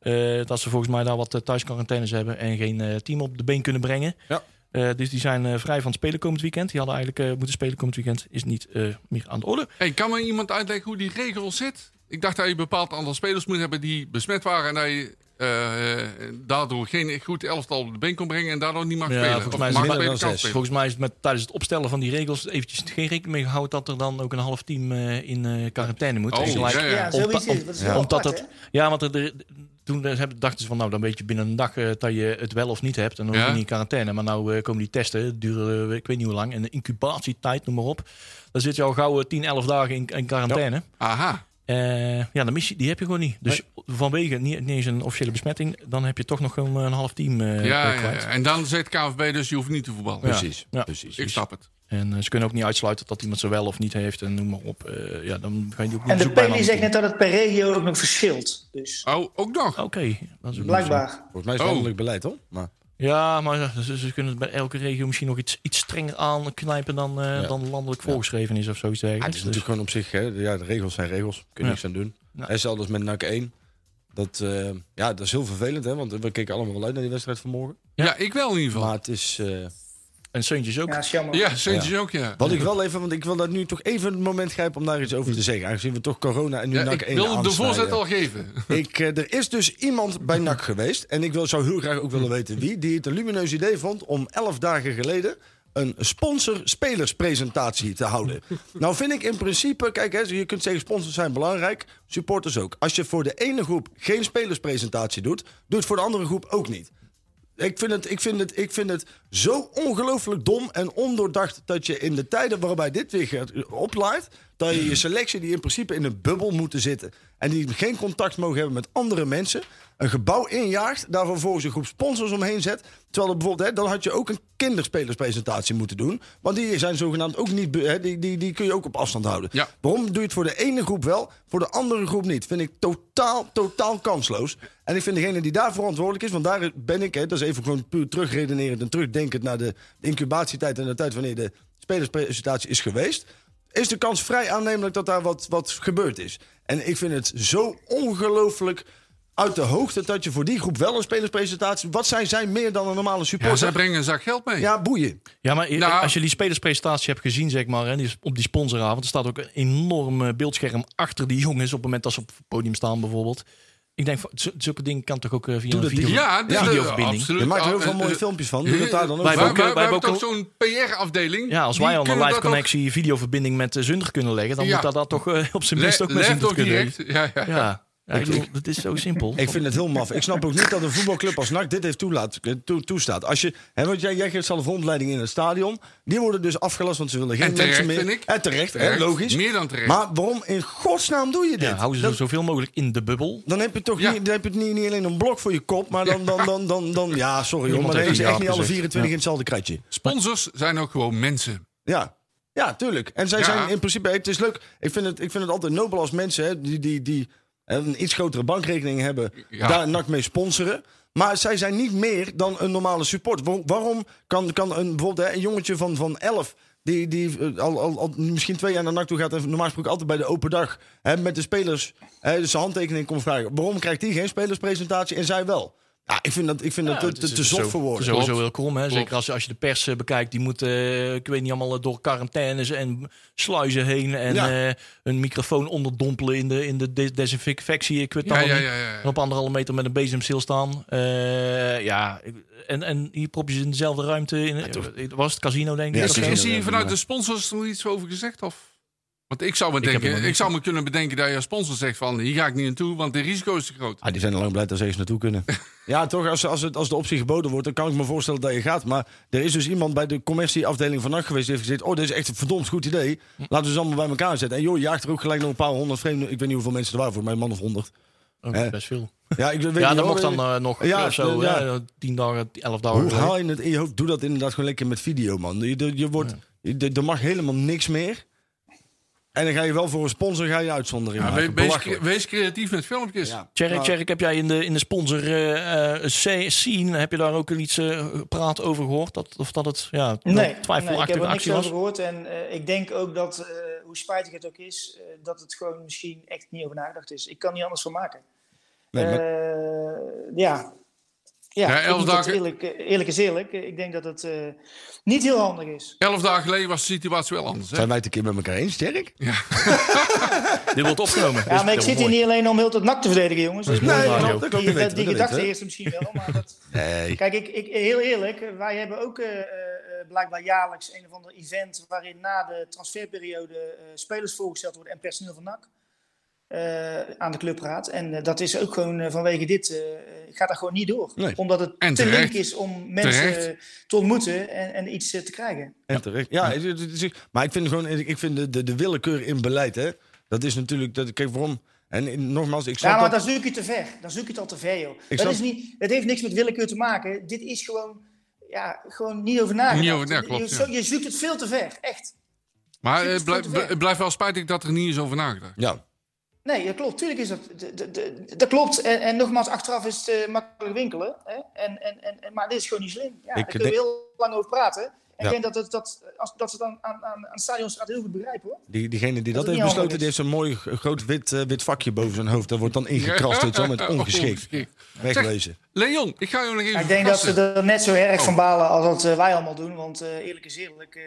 eh, dat ze volgens mij daar wat eh, thuisquarantaines hebben en geen eh, team op de been kunnen brengen. Ja. Eh, dus die zijn eh, vrij van het spelen komend weekend. Die hadden eigenlijk eh, moeten spelen komend weekend. Is niet eh, meer aan de orde. Hey, kan me iemand uitleggen hoe die regel zit? Ik dacht dat je een bepaald aantal spelers moet hebben die besmet waren... en dat je eh, daardoor geen goed elftal op de been kon brengen... en daardoor niet mag Ja, spelen. volgens Of mij is mag het minder spelen, dan kan zes. spelen. Volgens mij is het met, tijdens het opstellen van die regels eventjes geen rekening mee gehouden dat er dan ook een half team eh, in eh, quarantaine moet. Oh, En gelijk- ja, Ja, ja. zoiets is. het. Dat is heel Omdat apart, dat, ja, want er, er- toen eh, hebben- dachten ze van, nou, dan weet je binnen een dag eh, dat je het wel of niet hebt. En dan hoef je Ja. niet in quarantaine. Maar nou eh, komen die testen, het duren eh, ik weet niet hoe lang. En de incubatietijd, noem maar op. Dan zit je al gauw eh, 10, 11 dagen in, in quarantaine. Ja. Aha. ja, dan mis je, die heb je gewoon niet. Dus vanwege niet, niet eens een officiële besmetting, dan heb je toch nog gewoon een half team eh, ja, eh, ja, kwijt. ja. En dan zegt KNVB dus je hoeft niet te voetballen. Precies, Ja. precies. Ik snap het. En eh, ze kunnen ook niet uitsluiten dat iemand ze wel of niet heeft. En noem maar op. Eh, ja, dan ga je die ook niet op hè? En de zoek bij een Peli ander zegt net dat het per regio ook nog verschilt. Dus Oh, ook nog. team. Oké, dat is ook nog zo. blijkbaar. Volgens mij is het Oh. landelijk beleid, hoor. Maar, Ja, maar eh, ze, ze kunnen het bij elke regio misschien nog iets, iets strenger aanknijpen dan, eh, dan landelijk voorgeschreven is of zoiets Ah, het dergelijks. is Dus- natuurlijk gewoon op zich, hè, ja, de regels zijn regels. Kun je Ja. niks aan doen. Ja. En zelfs met NAC 1. Dat, eh, ja, dat is heel vervelend, hè, want we keken allemaal wel uit naar die wedstrijd vanmorgen. Ja. ik wel in ieder geval. Maar het is... eh, En Seuntjes ook. Ja, is jammer. ja, Sintjes ook, ja. wat ik wel even, want ik wil daar nu toch even het moment grijpen om daar iets over te zeggen. Aangezien we toch corona en nu Ja, NAC ik 1 wilde de aansnijden. voorzet al geven. Ik, eh, er is dus iemand bij NAC geweest. En ik wil, zou heel graag ook willen weten wie. Die het een lumineus idee vond om elf dagen geleden een sponsor-spelerspresentatie te houden. Nou vind ik in principe, kijk, hè, je kunt zeggen sponsors zijn belangrijk, supporters ook. Als je voor de ene groep geen spelerspresentatie doet, doe het voor de andere groep ook niet. Ik vind, het, ik, vind het, ik vind het zo ongelooflijk dom en ondoordacht dat je in de tijden waarbij dit weer gaat- eh, oplaait, dat je je selectie die in principe in een bubbel moeten zitten en die geen contact mogen hebben met andere mensen, een gebouw injaagt, daar vervolgens een groep sponsors omheen zet. Terwijl er bijvoorbeeld, hè, dan had je ook een kinderspelerspresentatie moeten doen, want die zijn zogenaamd ook niet, be- hè, die, die, die kun je ook op afstand houden. Ja. Waarom doe je het voor de ene groep wel, voor de andere groep niet? Vind ik totaal, totaal kansloos. En ik vind degene die daar verantwoordelijk is, want daar ben ik, hè, dat is even gewoon puur terugredenerend en terugdenkend naar de incubatietijd en de tijd wanneer de spelerspresentatie is geweest, is de kans vrij aannemelijk dat daar wat, wat gebeurd is. En ik vind het zo ongelooflijk uit de hoogte dat je voor die groep wel een spelerspresentatie. Wat zijn zij meer dan een normale [laughs] Ja, zij supporter? Ja, brengen een zak geld mee. boeien. Ja, maar i- Nou. als je die spelerspresentatie hebt gezien, zeg maar, en die is op die sponsoravond, er staat ook een enorm eh, beeldscherm achter die jongens op het moment dat ze op het podium staan, bijvoorbeeld. Ik denk, van, z- zulke dingen kan toch ook eh, via Doe een dat video, ding. Ja, dus, eh, videoverbinding. absoluut. Je maakt er heel Ah, veel eh, mooie eh, filmpjes van. Doe dat daar dan ook. Wij Maar hebben ook, we eh, wij hebben ook hebben ook zo'n PR-afdeling. ja, als wij al een live connectie videoverbinding met uh, Zunder kunnen leggen, dan Ja. moet dat, dat toch eh, op zijn best ook mee zien Lef te toch kunnen. direct. Ja, ja. Ja, ja ik bedoel, het is zo simpel. Ik vind het heel maf. Ik snap ook niet dat een voetbalclub als NAC dit heeft toelaat, toe- toestaat. Als je, hè, want jij, jij geeft zelf rondleiding in het stadion. Die worden dus afgelast, want ze willen geen En terecht, mensen meer. vind ik. En terecht, hè, Terecht. logisch. Meer dan terecht. Maar waarom in godsnaam doe je dit? ja, hou ze Dat- zo zoveel mogelijk in de bubbel. dan heb je toch Ja. niet, dan heb je het niet, niet alleen een blok voor je kop, maar dan, dan, dan, dan, dan ja, sorry hoor, Iemand maar dan heeft is een echt jaap niet alle gezegd. 24 in hetzelfde kratje. Sponsors zijn ook gewoon mensen. Ja. Ja, tuurlijk. En zij Ja. zijn in principe... Het is leuk. Ik vind het, ik vind het altijd nobel als mensen hè, die, die, die een iets grotere bankrekening hebben... Ja. daar NAC mee sponsoren. Maar zij zijn niet meer dan een normale support. Waar- waarom kan, kan een, bijvoorbeeld hè, een jongetje van, van 11... Die, die eh, al, al, al misschien twee jaar naar NAC toe gaat... en normaal gesproken altijd bij de open dag... Hè, met de spelers hè, dus zijn handtekening komt vragen. Waarom krijgt die geen spelerspresentatie en zij wel? Ja, ik vind dat, ik vind dat te, het is dus te zot zo- voor woorden. Sowieso Klopt. heel krom, hè? Klopt. Zeker als, als je de pers eh, bekijkt. Die moet, eh, ik weet niet, allemaal eh, door quarantaines en sluizen heen. En Ja. eh, een microfoon onderdompelen in de, in de des- desinfectie. Ik weet het Ja, allemaal ja, niet. ja, ja, ja. En op anderhalve meter met een bezem stilstaan. Eh, ja, en, en hier prop je ze in dezelfde ruimte. In, was het casino, denk ik? Ja, of zo? Is, precies. is hier Ja, vanuit ja. de sponsors nog iets over gezegd? Of? Want ik zou, me heb hem denken, nog ik niet. zou me kunnen bedenken dat je sponsor zegt van... hier ga ik niet naartoe, want de risico is te groot. Ah, die zijn al lang blij dat ze eens naartoe kunnen. [laughs] ja, toch, als, als, het, als de optie geboden wordt, dan kan ik me voorstellen dat je gaat. Maar er is dus iemand bij de commercieafdeling vannacht geweest... die heeft gezegd, oh, dit is echt een verdomd goed idee. Laten we ze allemaal bij elkaar zetten. En joh, je jaagt er ook gelijk nog een paar honderd vreemden... ik weet niet hoeveel mensen er waren, voor mijn man of honderd. Ook Eh, Oh, best veel. Ja, ik weet ja, niet, dat hoor. mocht dan eh, nog Ja, of zo. ja. Ja. tien dagen, elf Hoe dagen. haal je het in je hoofd? Doe dat inderdaad gewoon lekker met video, man. Je, je, je wordt, je- er mag helemaal niks meer. En dan ga je wel voor een sponsor ga je uitzondering Ja, we- maken. wees, Belachelijk. wees creatief met filmpjes. Ja. Tjerk, Nou, Tjerk, heb jij in de, in de sponsor eh, eh, sc- scene, heb je daar ook iets eh, praat over gehoord? Dat, of dat het ja, wel Nee, nee, ik twijfelachtige heb er niks actie over was? gehoord. En eh, ik denk ook dat, eh, hoe spijtig het ook is, eh, dat het gewoon misschien echt niet over nagedacht is. Ik kan niet anders van maken. nee, maar- Eh, ja. Ja, Ja, ik elf moet dat dagen- eerlijk, eh, eerlijk is eerlijk. Eh, Ik denk dat het eh, niet heel handig is. Elf dagen geleden was de situatie wel anders. Hè? zijn wij het een keer met elkaar eens, Sterk? Dit wordt opgenomen. Ja, maar ik zit hier niet alleen om heel het nak te verdedigen, jongens. Dat is Dus mooi die- radio. klopt, dat klopt, die dat weten we, die dat gedachte weten heerst misschien wel, maar dat... we. Nee. Kijk, ik, ik, heel eerlijk, wij hebben ook eh, eh, blijkbaar jaarlijks een of ander event waarin na de transferperiode eh, spelers voorgesteld worden en personeel van NAC eh, aan de clubraad. En eh, dat is ook gewoon eh, vanwege dit, eh, gaat daar gewoon niet door. Nee. Omdat het En te terecht. link is om mensen te ontmoeten en, en iets eh, te krijgen. En terecht. Ja, het- het- het is- maar ik vind gewoon, ik vind de, de, de willekeur in beleid, hè. Dat is natuurlijk, dat, kijk waarom. En in- nogmaals, ik snap Ja, maar dat. dan zoek je het te ver. Dan zoek je het al te ver, joh. Dat snap- is niet, het heeft niks met willekeur te maken. Dit is gewoon, ja, gewoon niet over nagedacht. Niet over- ja, klopt, je, ja. zo- je zoekt het veel te ver, echt. Maar Zit eh, het blij- goed weg? het blijft wel spijtig dat er niet is over nagedacht. Ja, Nee, dat klopt. Tuurlijk is dat. d- d- d- Dat klopt. En, en nogmaals, achteraf is het eh, makkelijk winkelen. Hè? En, en, en, en- maar dit is gewoon niet slim. Ja, daar denk- kunnen we heel lang over praten. En Ja. ik denk dat, het, dat, als, dat ze dan aan, aan, aan Stadionstraat heel goed begrijpen hoor. die, diegene die dat, Dat het heeft niet handig besloten, is. die heeft zo'n mooi g- groot wit, eh, wit vakje boven zijn hoofd. Dat wordt dan [laughs] ingekrast, weet je wel, met ongeschikt. Wegwezen. Leon, ik ga jou nog even ik denk dat verrassen. ze er net zo erg Oh. van balen als dat eh, wij allemaal doen. Want eh, eerlijk is eerlijk. eh,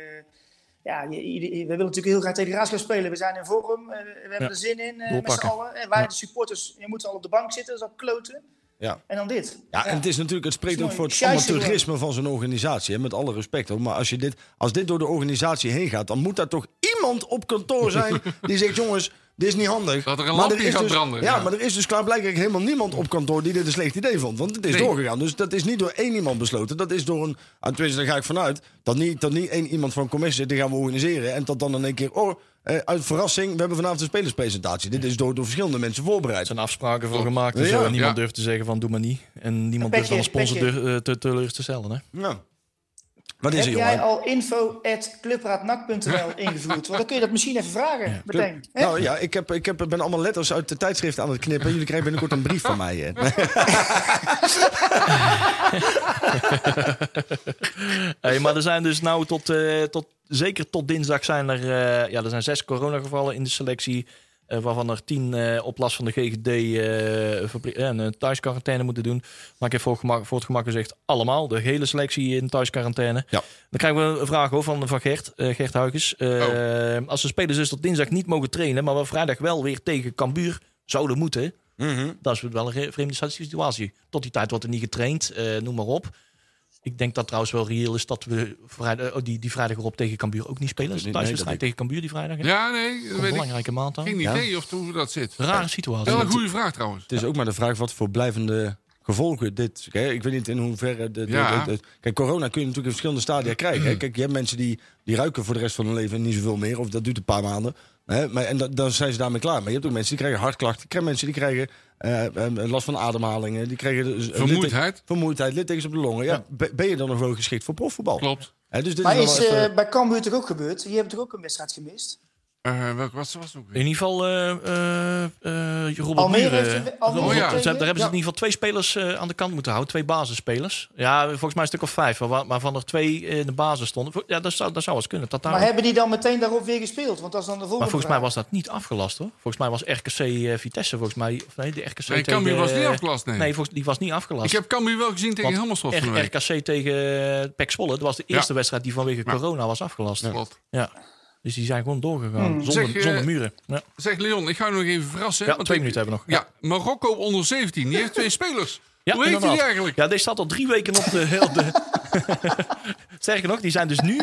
ja, je- ieder- we willen natuurlijk heel graag tegen de Graafschap spelen. We zijn in vorm. eh, we hebben Ja. er zin in eh, met z'n Doorpakken. allen. En wij, Ja. de supporters, je moet al op de bank zitten. Dat is al kloten. Ja. En dan dit. Ja, en het is natuurlijk, het spreekt Dat ook is voor het mooi. Scheisse amateurisme van zo'n organisatie. Hè, met alle respect ook. Maar als, je dit, als dit door de organisatie heen gaat, dan moet daar toch iemand op kantoor zijn die zegt: jongens, dit is niet handig. Dat er een Maar lampje is gaat dus- branden, Ja, ja. maar er is dus klaarblijkelijk helemaal niemand op kantoor die dit een slecht idee vond. Want het is Nee. doorgegaan. Dus dat is niet door één iemand besloten. Dat is door een. ah, Tenminste, daar ga ik vanuit. Dat niet, dat niet één iemand van commissie zegt: dit gaan we organiseren. En dat dan in één keer. Oh, eh, uit verrassing, we hebben vanavond een spelerspresentatie. Dit is door, door verschillende mensen voorbereid. Er zijn afspraken voor gemaakt en Ja, zo. En niemand ja. durft te zeggen van doe maar niet. En niemand durft dan Petje, een sponsor petje. dur- eh, te teleur te stellen. Hè? Ja. Wat is er, Heb jongen? jij al info.clubraadnak.nl [laughs] ingevoerd? Want dan kun je dat misschien even vragen, meteen. hè? Nou ja, ik, heb, ik heb, ben allemaal letters uit de tijdschrift aan het knippen. Jullie krijgen binnenkort een brief van mij. [laughs] hè. [laughs] Hey, maar er zijn dus nou tot, eh, tot zeker tot dinsdag zijn er, eh, ja, er zijn zes coronagevallen in de selectie. eh, waarvan er tien eh, op last van de GGD eh, verblie- en een thuisquarantaine moeten doen. Maar ik heb voor, het gemak, voor het gemak gezegd allemaal. De hele selectie in thuisquarantaine. Ja. Dan krijgen we een vraag hoor, van, van Gert, eh, Gert Huygens. Eh, Als de spelers dus tot dinsdag niet mogen trainen... maar wel vrijdag wel weer tegen Cambuur zouden moeten... dat is wel een re- vreemde situatie. Tot die tijd wordt er niet getraind, eh, noem maar op. Ik denk dat trouwens wel reëel is dat we vrijdag, oh, die, die vrijdag erop tegen Cambuur ook niet spelen. Dat is een Nee, dat thuiswedstrijd tegen Cambuur die vrijdag. hè? Ja, nee, dat een weet ik. belangrijke maand dan. Geen idee of hoe dat zit. Rare situatie. Wel een goede vraag trouwens. Het is ook maar de vraag wat voor blijvende gevolgen dit... Hè? Ik weet niet in hoeverre... De, de- Ja. de- de- kijk, corona kun je natuurlijk in verschillende stadia krijgen. Hè? Kijk, je hebt mensen die, die ruiken voor de rest van hun leven niet zoveel meer. Of dat duurt een paar maanden. Hè? Maar, en da- dan zijn ze daarmee klaar. Maar je hebt ook mensen die krijgen hartklachten. Je krijgt mensen die krijgen eh, eh, last van ademhalingen. Die krijgen dus- Vermoeidheid. vermoeidheid, littekens op de longen. Ja, be- Ben je dan nog wel geschikt voor profvoetbal? Klopt. Hè, dus dit Maar is, is wel even- eh, bij Cambuur toch ook gebeurd? Je hebt toch ook een wedstrijd gemist? Nou. Eh welke was, was het ook In weer? ieder geval, eh eh eh, Robert Almere Muren. heeft een- Almere Robert- heeft Ze- twee Daar hebben ze in weer. ieder geval twee spelers eh, aan de kant moeten houden. Twee basisspelers. Ja, volgens mij een stuk of vijf. Maar waarvan er twee eh, in de basis stonden. Ja, dat zou, dat zou eens kunnen. Dat daar Maar hebben die dan meteen daarop weer gespeeld? Want dat is dan de volgende Maar volgens mij vraag. was dat niet afgelast hoor. Volgens mij was RKC eh, Vitesse, volgens mij. Of nee, de RKC. Nee, tegen- eh, Cambuur was niet afgelast, nee. Nee, volgens, die was niet afgelast. Ik heb Cambuur wel gezien tegen Want Helmershof R- van de week. RKC tegen eh, PEC Zwolle. Dat was de Ja. eerste wedstrijd die vanwege Ja. corona was afgelast. Ja. Klopt. Dus die zijn gewoon doorgegaan. Hmm. Zonder, Zeg, eh, zonder muren. Ja, Zeg Leon, ik ga je nog even verrassen. ja want twee ik- minuten hebben we nog. Ja, Marokko onder 17. Die heeft twee spelers. [laughs] Ja, Hoe heet die inderdaad. eigenlijk? [laughs] Ja, deze staat al drie weken op de... Op de Sterker nog, die zijn dus nu,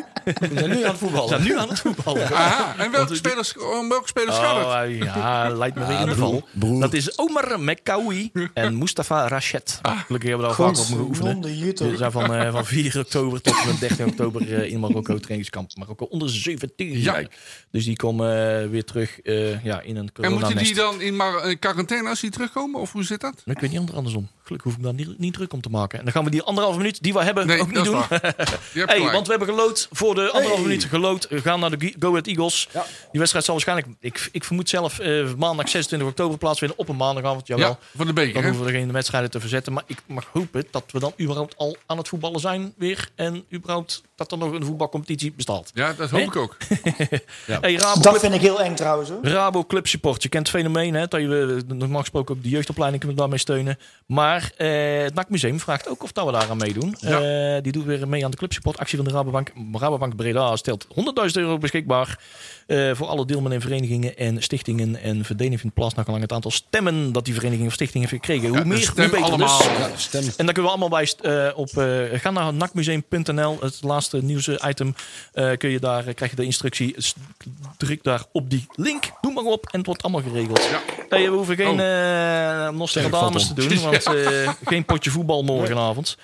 zijn nu aan het voetballen. zijn nu aan het voetballen. Aha, Ah, en welke spelers, om welke spelers gaat het? Oh, eh, ja, lijkt me weer in de val. Dat is Omar Mekkaoui en Mustafa Rachet. Ah. Gelukkig hebben we daar vaak op moeten oefenen. Godzonde Jutta. Ze zijn van, eh, van 4 oktober tot en met 13 oktober eh, in Marokko trainingskamp. Marokko onder 17. Ja. Kijk. Dus die komen eh, weer terug eh, ja, in een En corona moeten die dan in maar, eh, quarantaine als die terugkomen? Of hoe zit dat? Ik weet niet ander andersom. Gelukkig hoef ik daar niet, niet druk om te maken. En dan gaan we die anderhalve minuut die we hebben Nee, ook niet dat is doen. waar. Je hebt Hey, gelijk. want we hebben gelood voor de anderhalve minuut gelood. We gaan naar de Ge- Go Ahead Eagles. Die wedstrijd zal waarschijnlijk, ik, ik vermoed zelf, eh, maandag 26 oktober plaatsvinden op een maandagavond. Jawel. ja, van de Dan beker. hè? hoeven we er geen wedstrijden te verzetten. Maar ik mag hopen dat we dan überhaupt al aan het voetballen zijn weer. En überhaupt dat er nog een voetbalcompetitie bestaat. Ja, dat hoop Hè? ik ook. Hey, Rabo, Dat Club, vind ik heel eng trouwens. Hoor. Rabo Club Support. Je kent het fenomeen hè, dat je eh, normaal gesproken ook de jeugdopleiding kunt daarmee steunen. Maar eh, het NAC Museum vraagt ook of dat we daaraan meedoen. Eh, die doet weer mee aan de Club Support actie van de Rabobank. Rabobank Breda stelt 100.000 euro beschikbaar eh, voor alle deelnemende verenigingen en stichtingen. En verdeling vindt plaats naar gelang het aantal stemmen dat die vereniging of stichting heeft gekregen. Hoe Ja, meer, stem hoe beter allemaal. dus. Ja, stem. En daar kunnen we allemaal bij st- eh, op. eh, ga naar nakmuseum.nl. Het laatste nieuwsitem. eh kun je daar, eh, krijg je de instructie. S- Druk daar op die link. Doe maar op. En het wordt allemaal geregeld. Ja. Hey, we hoeven geen Oh. eh Nostradamus te valt doen. Want [laughs] eh, geen potje voetbal morgenavond.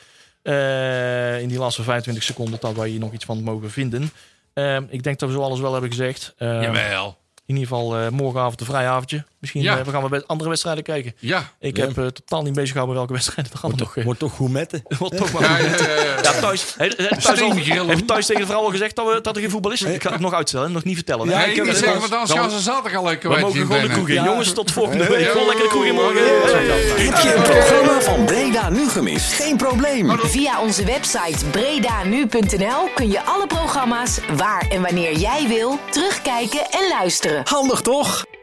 Eh, in die laatste 25 seconden dat wij hier nog iets van mogen vinden. Eh, ik denk dat we zo alles wel hebben gezegd. Eh, Jawel. in ieder geval eh, morgenavond een vrij avondje. Misschien Ja. eh, we gaan we bij andere wedstrijden kijken. Ja. Ik Ja. heb eh, totaal niet bezig gehouden welke wedstrijden er allemaal nog eh, Wordt toch goed metten. wat toch Ja, maar. ja, ja, ja. Ja, thuis. Heeft heeft thuis, al, Steengrillen. heeft thuis tegen de vrouw al gezegd dat, we, dat er geen voetbal is? Ik ga het nog uitstellen, nog niet vertellen. Ja, hè? ik Nee, heb niet het zeggen, wel. want anders gaan ze zaterdag al lekker we kwijt mogen in gewoon de Benne. koek in. Jongens, tot volgende week. Gewoon lekker de koek in morgen. Heb je het programma van Breda nu gemist? Geen probleem. Via onze website bredanu.nl kun je alle programma's waar en wanneer jij wil terugkijken en luisteren. Handig toch?